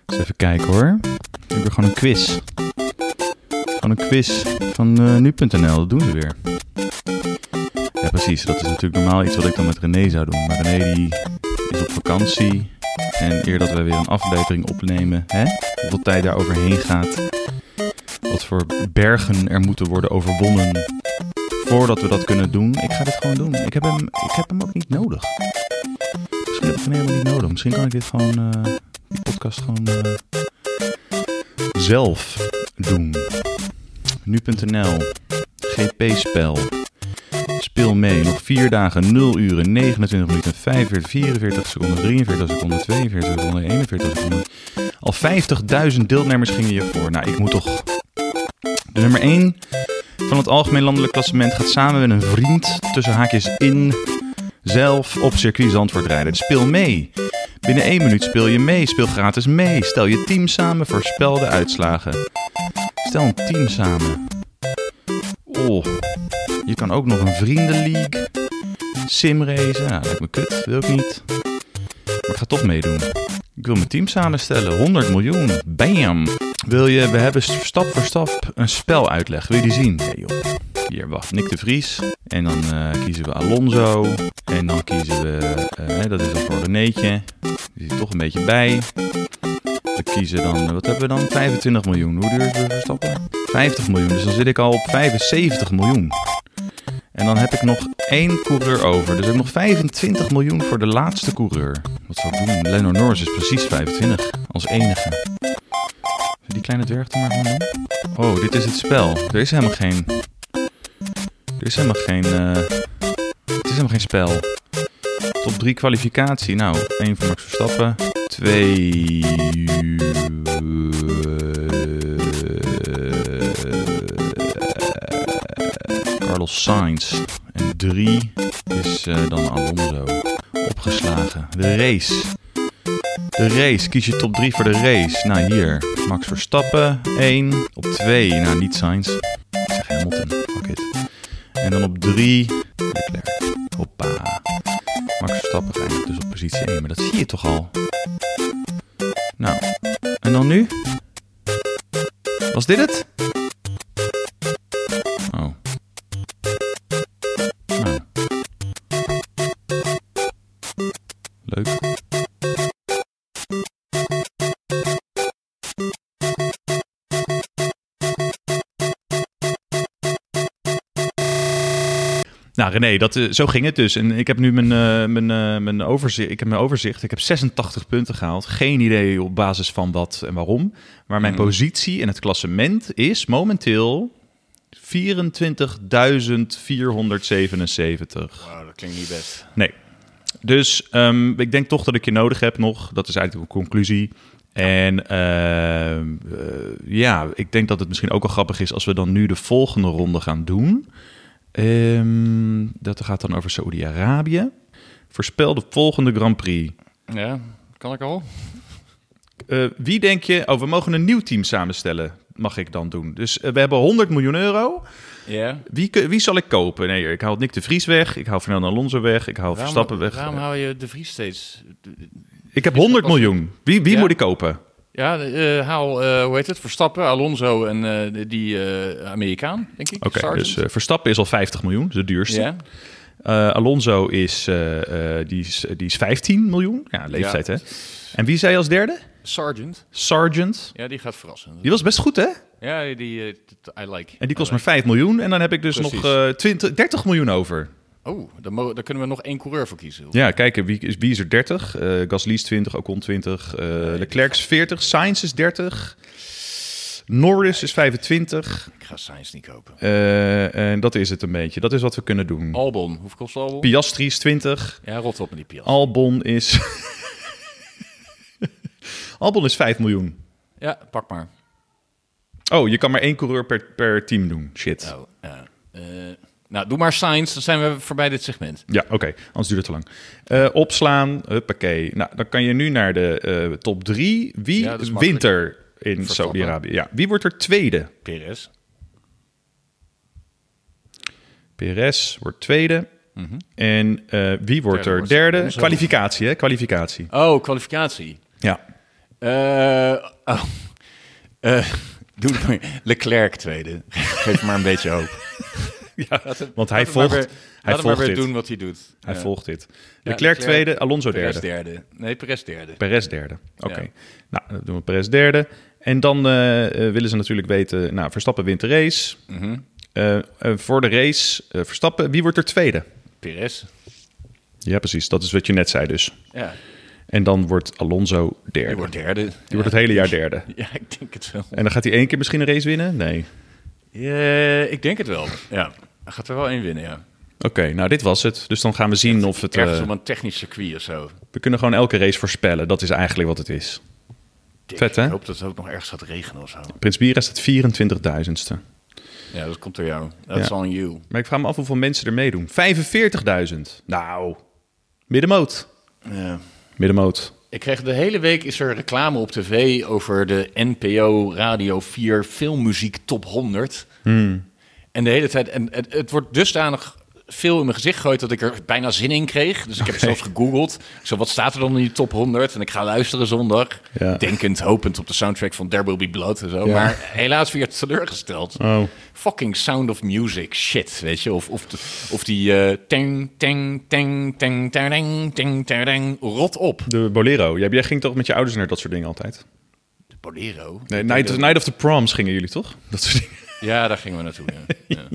Speaker 3: Eens even kijken hoor. Ik heb er gewoon een quiz. Gewoon een quiz van eh, nu.nl, dat doen ze weer. Ja, precies. Dat is natuurlijk normaal iets wat ik dan met René zou doen. Maar René die is op vakantie. En eer dat wij weer een aflevering opnemen, hè? hoeveel tijd daar overheen gaat. Wat voor bergen er moeten worden overwonnen voordat we dat kunnen doen. Ik ga dit gewoon doen. Ik heb hem, ik heb hem ook niet nodig. Misschien heb ik hem helemaal niet nodig. Misschien kan ik dit gewoon, eh, die podcast gewoon eh, zelf doen. Nu.nl, GP-spel. Speel mee. Nog 4 dagen, 0 uren, 29 minuten, 45, 44 seconden, 43 seconden, 42 seconden, 41 seconden. Al 50.000 deelnemers gingen hiervoor. Nou, ik moet toch... De nummer 1 van het algemeen landelijk klassement gaat samen met een vriend tussen haakjes in zelf op circuit Zandvoort rijden. Speel mee. Binnen 1 minuut speel je mee. Speel gratis mee. Stel je team samen. Voorspel de uitslagen. Stel een team samen. Bowl. Oh, Je kan ook nog een vriendenleague. Simrace. Ja, lijkt me kut. Wil ik niet. Maar ik ga toch meedoen. Ik wil mijn team samenstellen. 100 miljoen. Bam. Wil je, we hebben stap voor stap een spel uitleg. Wil je die zien? Nee joh. Hier, wacht. Nick de Vries. En dan eh, kiezen we Alonso. En dan kiezen we... eh, hè, dat is al voor Renéetje. Die zit toch een beetje bij. We kiezen dan... eh, Wat hebben we dan? 25 miljoen. Hoe duur is we stappen? 50 miljoen. Dus dan zit ik al op 75 miljoen. En dan heb ik nog één coureur over. Dus ik heb nog 25 miljoen voor de laatste coureur. Wat zou ik doen? Lennon Norris is precies 25. Als enige. Zullen we die kleine dwerg er maar van doen? Oh, dit is het spel. Er is helemaal geen... Er is helemaal geen... eh, het is helemaal geen spel. Top 3 kwalificatie. Nou, één voor Max Verstappen. Twee... Carlos Sainz. En drie is eh, dan Alonso. Opgeslagen. De race. De race. Kies je top 3 voor de race. Nou, hier. Max Verstappen. 1. Op 2. Nou, niet Sainz. Ik zeg Hamilton. Fuck it. En dan op 3. Leclerc. Hoppa. Max Verstappen eindigt dus op positie 1. Maar dat zie je toch al. Nou. En dan nu? Was dit het? Oh. Nou. Leuk. Nou, René, dat, eh, zo ging het dus. En ik heb nu mijn, eh, mijn, eh, mijn, overzicht, ik heb mijn overzicht. Ik heb 86 punten gehaald. Geen idee op basis van wat en waarom. Maar mijn positie en het klassement is momenteel 24.477.
Speaker 4: Wow, Oh, dat klinkt niet best.
Speaker 3: Nee. Dus ehm, ik denk toch dat ik je nodig heb nog. Dat is eigenlijk de conclusie. En ehm, eh, ja, ik denk dat het misschien ook wel grappig is als we dan nu de volgende ronde gaan doen. Ehm, dat gaat dan over Saoedi-Arabië. Voorspel de volgende Grand Prix.
Speaker 4: Ja, kan ik al?
Speaker 3: Eh, wie denk je... Oh, we mogen een nieuw team samenstellen, mag ik dan doen. Dus eh, we hebben 100 miljoen euro.
Speaker 4: Ja.
Speaker 3: Wie, kun- wie zal ik kopen? Nee, ik haal Nick de Vries weg. Ik haal Fernando Alonso weg. Ik haal Verstappen weg.
Speaker 4: Waarom hou je de Vries steeds?
Speaker 3: Ik heb 100
Speaker 4: dat pas-
Speaker 3: miljoen. Wie, wie
Speaker 4: Ja?
Speaker 3: moet ik kopen?
Speaker 4: Ja, eh, haal, eh, hoe heet het, Verstappen, Alonso en eh, die eh, Amerikaan, denk ik.
Speaker 3: Oké,
Speaker 4: Sargent.
Speaker 3: dus eh, Verstappen is al 50 miljoen, de duurste.
Speaker 4: ja.
Speaker 3: Eh, Alonso is, eh, eh, die is, die is 15 miljoen. Ja, leeftijd
Speaker 4: Ja.
Speaker 3: hè. En wie zei als derde?
Speaker 4: Sargent,
Speaker 3: Sargent.
Speaker 4: ja, die gaat verrassen.
Speaker 3: Die was best goed hè?
Speaker 4: Ja, die, eh, t- I like.
Speaker 3: En die kost
Speaker 4: I
Speaker 3: maar 5 miljoen. En dan heb ik dus
Speaker 4: Precies.
Speaker 3: nog eh 20, 30 miljoen over.
Speaker 4: like. Oh, daar, mo- daar kunnen we nog één coureur voor kiezen.
Speaker 3: Ja, kijken, wie is, wie is er 30? Eh Gasly is 20, Ocon 20, eh Leclerc is 40, Sainz is 30, Norris is 25.
Speaker 4: Ik ga Sainz niet kopen.
Speaker 3: Eh, en dat is het een beetje. Dat is wat we kunnen doen.
Speaker 4: Albon, hoeveel kost Albon?
Speaker 3: Piastri is 20.
Speaker 4: ja, rot op met die Piastri.
Speaker 3: Albon is. Albon is 5 miljoen.
Speaker 4: Ja, pak maar.
Speaker 3: Oh, je kan maar één coureur per, per team doen. Shit.
Speaker 4: Oh, ja. Eh, nou, doe maar Sainz, dan zijn we voorbij dit segment.
Speaker 3: Ja, oké. Anders duurt het te lang. Eh, opslaan. Huppakee. Nou, dan kan je nu naar de eh, top 3. Wie
Speaker 4: Ja, dat is makkelijk.
Speaker 3: wint er in
Speaker 4: Verstappen.
Speaker 3: Saudi-Arabië? Ja. Wie wordt er tweede?
Speaker 4: Perez.
Speaker 3: Perez wordt tweede. En eh, wie wordt
Speaker 4: Mhm. Derde
Speaker 3: er
Speaker 4: wordt
Speaker 3: derde?
Speaker 4: Alonso.
Speaker 3: Kwalificatie, hè? Kwalificatie.
Speaker 4: Oh, kwalificatie.
Speaker 3: Ja.
Speaker 4: Eh, oh. Eh, doe het maar. Leclerc tweede. Geef me maar een beetje hoop.
Speaker 3: Want hij
Speaker 4: Laat hem maar
Speaker 3: volgt,
Speaker 4: weer-
Speaker 3: hij
Speaker 4: Laat hem maar
Speaker 3: volgt
Speaker 4: weer
Speaker 3: dit.
Speaker 4: doen wat hij doet.
Speaker 3: Hij
Speaker 4: Ja.
Speaker 3: volgt dit. Leclerc,
Speaker 4: Leclerc,
Speaker 3: tweede, Alonso
Speaker 4: Perez
Speaker 3: derde.
Speaker 4: derde. Nee, Perez derde.
Speaker 3: Perez derde. Oké.
Speaker 4: Ja.
Speaker 3: Nou, dan doen we Perez derde. En dan eh, eh, willen ze natuurlijk weten... Nou, Verstappen wint de race.
Speaker 4: Mhm.
Speaker 3: Eh, eh, voor de race, eh, Verstappen, wie wordt er tweede?
Speaker 4: Perez.
Speaker 3: Ja, precies. Dat is wat je net zei dus.
Speaker 4: Ja,
Speaker 3: En dan wordt Alonso derde.
Speaker 4: die wordt derde.
Speaker 3: Die wordt het hele jaar derde.
Speaker 4: *laughs* Ja, ik denk het wel.
Speaker 3: En dan gaat hij één keer misschien een race winnen? Nee.
Speaker 4: Eh, ik denk het wel. Ja, hij gaat er wel één winnen, ja.
Speaker 3: Oké, nou dit was het. Dus dan gaan we zien of het...
Speaker 4: Ergens
Speaker 3: eh,
Speaker 4: op een technisch circuit of zo.
Speaker 3: we kunnen gewoon elke race voorspellen. Dat is eigenlijk wat het is.
Speaker 4: Dik.
Speaker 3: Vet, hè?
Speaker 4: Ik hoop dat het ook nog ergens gaat regenen of zo.
Speaker 3: Prins Bira staat 24.000ste.
Speaker 4: Ja, dat komt door jou. That's
Speaker 3: Ja.
Speaker 4: on you.
Speaker 3: Maar ik vraag me af hoeveel mensen er meedoen. 45.000. Nou, middenmoot.
Speaker 4: Ja.
Speaker 3: Middenmoot.
Speaker 4: Ik kreeg de hele week is er reclame op tv
Speaker 3: Hmm.
Speaker 4: over de NPO Radio 4 filmmuziek top 100. En de hele tijd. En het, het wordt dusdanig veel in mijn gezicht gegooid dat ik er bijna zin in kreeg. Dus ik heb zelfs gegoogeld. Zo, wat staat er dan in die top 100? En ik ga luisteren zondag.
Speaker 3: Ja.
Speaker 4: Denkend, hopend op de soundtrack van There Will Be Blood en zo.
Speaker 3: Ja.
Speaker 4: Maar helaas weer teleurgesteld.
Speaker 3: Oh.
Speaker 4: Fucking Sound of Music shit, weet je. Of, of, de- of die eh teng, teng, teng, teng, teng, teng, teng, rot op.
Speaker 3: De Bolero. Jij, jij ging toch met je ouders naar dat soort dingen altijd?
Speaker 4: De Bolero.
Speaker 3: Nee, Night, Night of the Proms gingen jullie toch? *laughs* Dat soort dingen.
Speaker 4: Ja, daar gingen we naartoe. Ja.
Speaker 3: *laughs*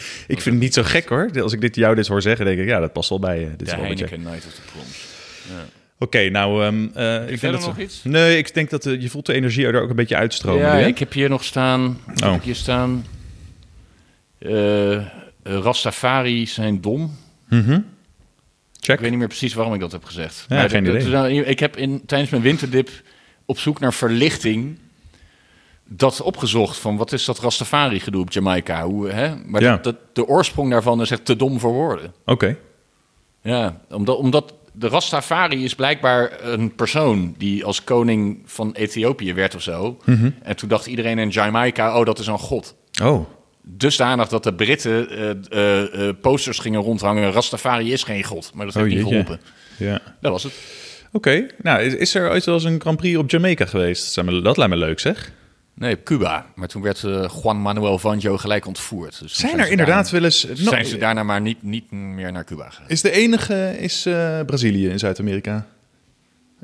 Speaker 4: Ja.
Speaker 3: Ik vind het niet zo gek hoor. Als ik dit, jou dit hoor zeggen, denk ik, ja, dat past wel bij eh, dit. is
Speaker 4: De
Speaker 3: wel een beetje-
Speaker 4: Heineken Night of the Proms.
Speaker 3: Oké, nou, ehm, eh, ik denk
Speaker 4: verder
Speaker 3: dat...
Speaker 4: nog iets?
Speaker 3: Nee, ik denk dat eh, je voelt de energie er ook een beetje uitstromen.
Speaker 4: Ja,
Speaker 3: nu, hè?
Speaker 4: ik heb hier nog staan. wat
Speaker 3: Oh.
Speaker 4: Heb ik hier staan. Eh, eh, Rastafari zijn dom.
Speaker 3: Check.
Speaker 4: Ik weet niet meer precies waarom ik dat heb gezegd.
Speaker 3: Ja, geen
Speaker 4: dat- dat
Speaker 3: idee.
Speaker 4: is nou- ik heb in, tijdens mijn winterdip op zoek naar verlichting dat opgezocht. Van wat is dat Rastafari gedoe op Jamaica? Hoe, hè? Maar
Speaker 3: Ja.
Speaker 4: dat, dat- de oorsprong daarvan is echt te dom voor woorden.
Speaker 3: Oké.
Speaker 4: Ja, omdat, omdat de Rastafari is blijkbaar een persoon die als koning van Ethiopië werd of zo.
Speaker 3: Mhm.
Speaker 4: En toen dacht iedereen in Jamaica, oh, dat is een god.
Speaker 3: Oh,
Speaker 4: Dusdanig dat de Britten eh, eh, eh, posters gingen rondhangen. Rastafari is geen god, maar dat
Speaker 3: oh
Speaker 4: heeft niet
Speaker 3: jeetje.
Speaker 4: geholpen.
Speaker 3: Ja.
Speaker 4: Dat was het.
Speaker 3: Oké, nou, is, is er ooit wel eens een Grand Prix op Jamaica geweest? Dat, zijn me- dat lijkt me leuk, zeg.
Speaker 4: Nee, op Cuba. Maar toen werd eh, Juan Manuel Vanjo gelijk ontvoerd. Dus toen
Speaker 3: Zijn
Speaker 4: ze
Speaker 3: er inderdaad
Speaker 4: daarna-
Speaker 3: wel eens... nou, eh, No-
Speaker 4: zijn ze daarna maar niet, niet meer naar Cuba gegaan.
Speaker 3: Is de enige is eh, Brazilië in Zuid-Amerika?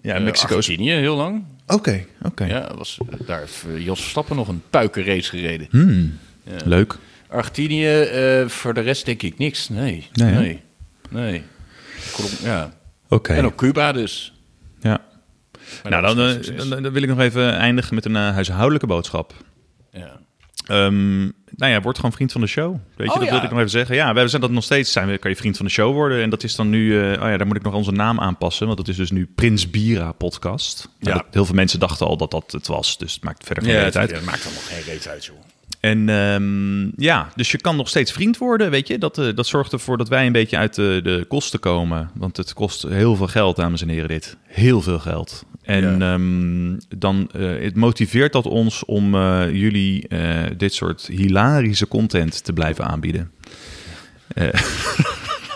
Speaker 3: Ja,
Speaker 4: Eh,
Speaker 3: Mexico is... Oké,
Speaker 4: Argentinië heel lang.
Speaker 3: oké.
Speaker 4: Ja, was, daar heeft eh, Jos Verstappen nog een puikenrace
Speaker 3: Hm?
Speaker 4: gereden.
Speaker 3: Leuk.
Speaker 4: Argentinië, eh, voor de rest denk ik niks. Nee.
Speaker 3: Nee,
Speaker 4: Nee.
Speaker 3: hè?
Speaker 4: Nee. Krom- ja.
Speaker 3: Oké.
Speaker 4: En op Cuba dus.
Speaker 3: Ja.
Speaker 4: Maar
Speaker 3: Nou,
Speaker 4: dat
Speaker 3: dan,
Speaker 4: was
Speaker 3: eh,
Speaker 4: geen succes.
Speaker 3: dan, dan wil ik nog even eindigen met een eh, huishoudelijke boodschap.
Speaker 4: Ja.
Speaker 3: Ehm, nou ja, word gewoon vriend van de show. Weet je,
Speaker 4: Oh
Speaker 3: dat
Speaker 4: ja.
Speaker 3: wilde ik nog even zeggen. Ja, we zijn dat nog steeds. Zijn we, kan je vriend van de show worden? En dat is dan nu. eh, oh ja, daar moet ik nog onze naam aanpassen. Want dat is dus nu Prins Bira Podcast. Nou,
Speaker 4: Ja.
Speaker 3: dat- heel veel mensen dachten al dat dat het was. Dus het maakt verder geen
Speaker 4: Ja,
Speaker 3: reet uit.
Speaker 4: het maakt allemaal geen reet uit, joh.
Speaker 3: En ehm, ja, dus je kan nog steeds vriend worden, weet je. Dat, eh, dat zorgt ervoor dat wij een beetje uit de, de kosten komen. Want het kost heel veel geld, dames en heren, dit. Heel veel geld. En ehm, dan eh, het motiveert dat ons om eh, jullie eh, dit soort hilarische content te blijven aanbieden. Eh, *laughs*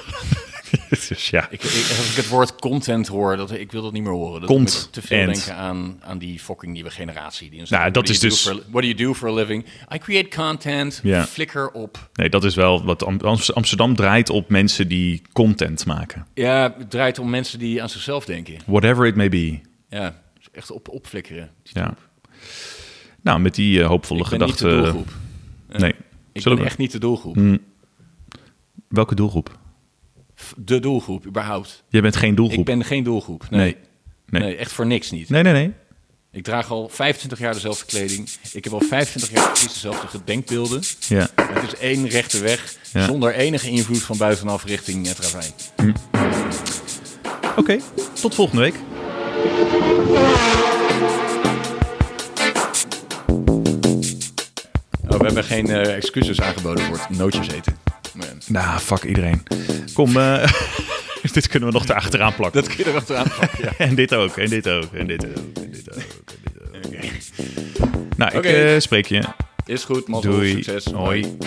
Speaker 3: dus ja,
Speaker 4: Ik, ik- als ik het woord content hoor, dat, ik wil dat niet meer horen. Dat
Speaker 3: Cont-
Speaker 4: doet me Te veel
Speaker 3: and.
Speaker 4: denken aan, aan die fucking nieuwe generatie. Die
Speaker 3: Nou, dat is dus-
Speaker 4: What do you do for a living? I create content,
Speaker 3: Ja.
Speaker 4: flikker op.
Speaker 3: nee, dat is wel wat Am- Am- Amsterdam draait op mensen die content maken.
Speaker 4: Ja, het draait om mensen die aan zichzelf denken.
Speaker 3: Whatever it may be.
Speaker 4: Ja, dus echt op, opflikkeren.
Speaker 3: Ja. Nou, met die eh, hoopvolle
Speaker 4: Ik ben niet
Speaker 3: gedachte.
Speaker 4: de doelgroep.
Speaker 3: Nee.
Speaker 4: Ik
Speaker 3: Zullen
Speaker 4: ben
Speaker 3: we- Mm.
Speaker 4: echt niet de doelgroep.
Speaker 3: Welke doelgroep?
Speaker 4: De doelgroep, überhaupt.
Speaker 3: Jij bent geen doelgroep.
Speaker 4: Ik ben geen doelgroep.
Speaker 3: Nee.
Speaker 4: Nee.
Speaker 3: Nee.
Speaker 4: Nee. echt voor niks niet.
Speaker 3: Nee, nee, nee.
Speaker 4: Ik draag al 25 jaar dezelfde kleding. Ik heb al 25 jaar precies dezelfde gedenkbeelden.
Speaker 3: Ja.
Speaker 4: Het is één rechte weg,
Speaker 3: Ja.
Speaker 4: zonder enige invloed van buitenaf richting het ravijn.
Speaker 3: Oké, tot volgende week.
Speaker 4: Oh, we hebben geen eh, excuses aangeboden voor het nootjes eten. Nee.
Speaker 3: Nou, fuck iedereen. Kom, eh, *laughs* dit kunnen we nog erachteraan plakken.
Speaker 4: Dat kun je erachteraan *laughs* pakken, ja.
Speaker 3: En dit ook, en dit ook, en dit ook, en dit ook, en dit ook. Nou, ik
Speaker 4: Oké.
Speaker 3: eh, spreek je.
Speaker 4: Is goed, mazzel,
Speaker 3: Doei.
Speaker 4: succes.
Speaker 3: Hoi.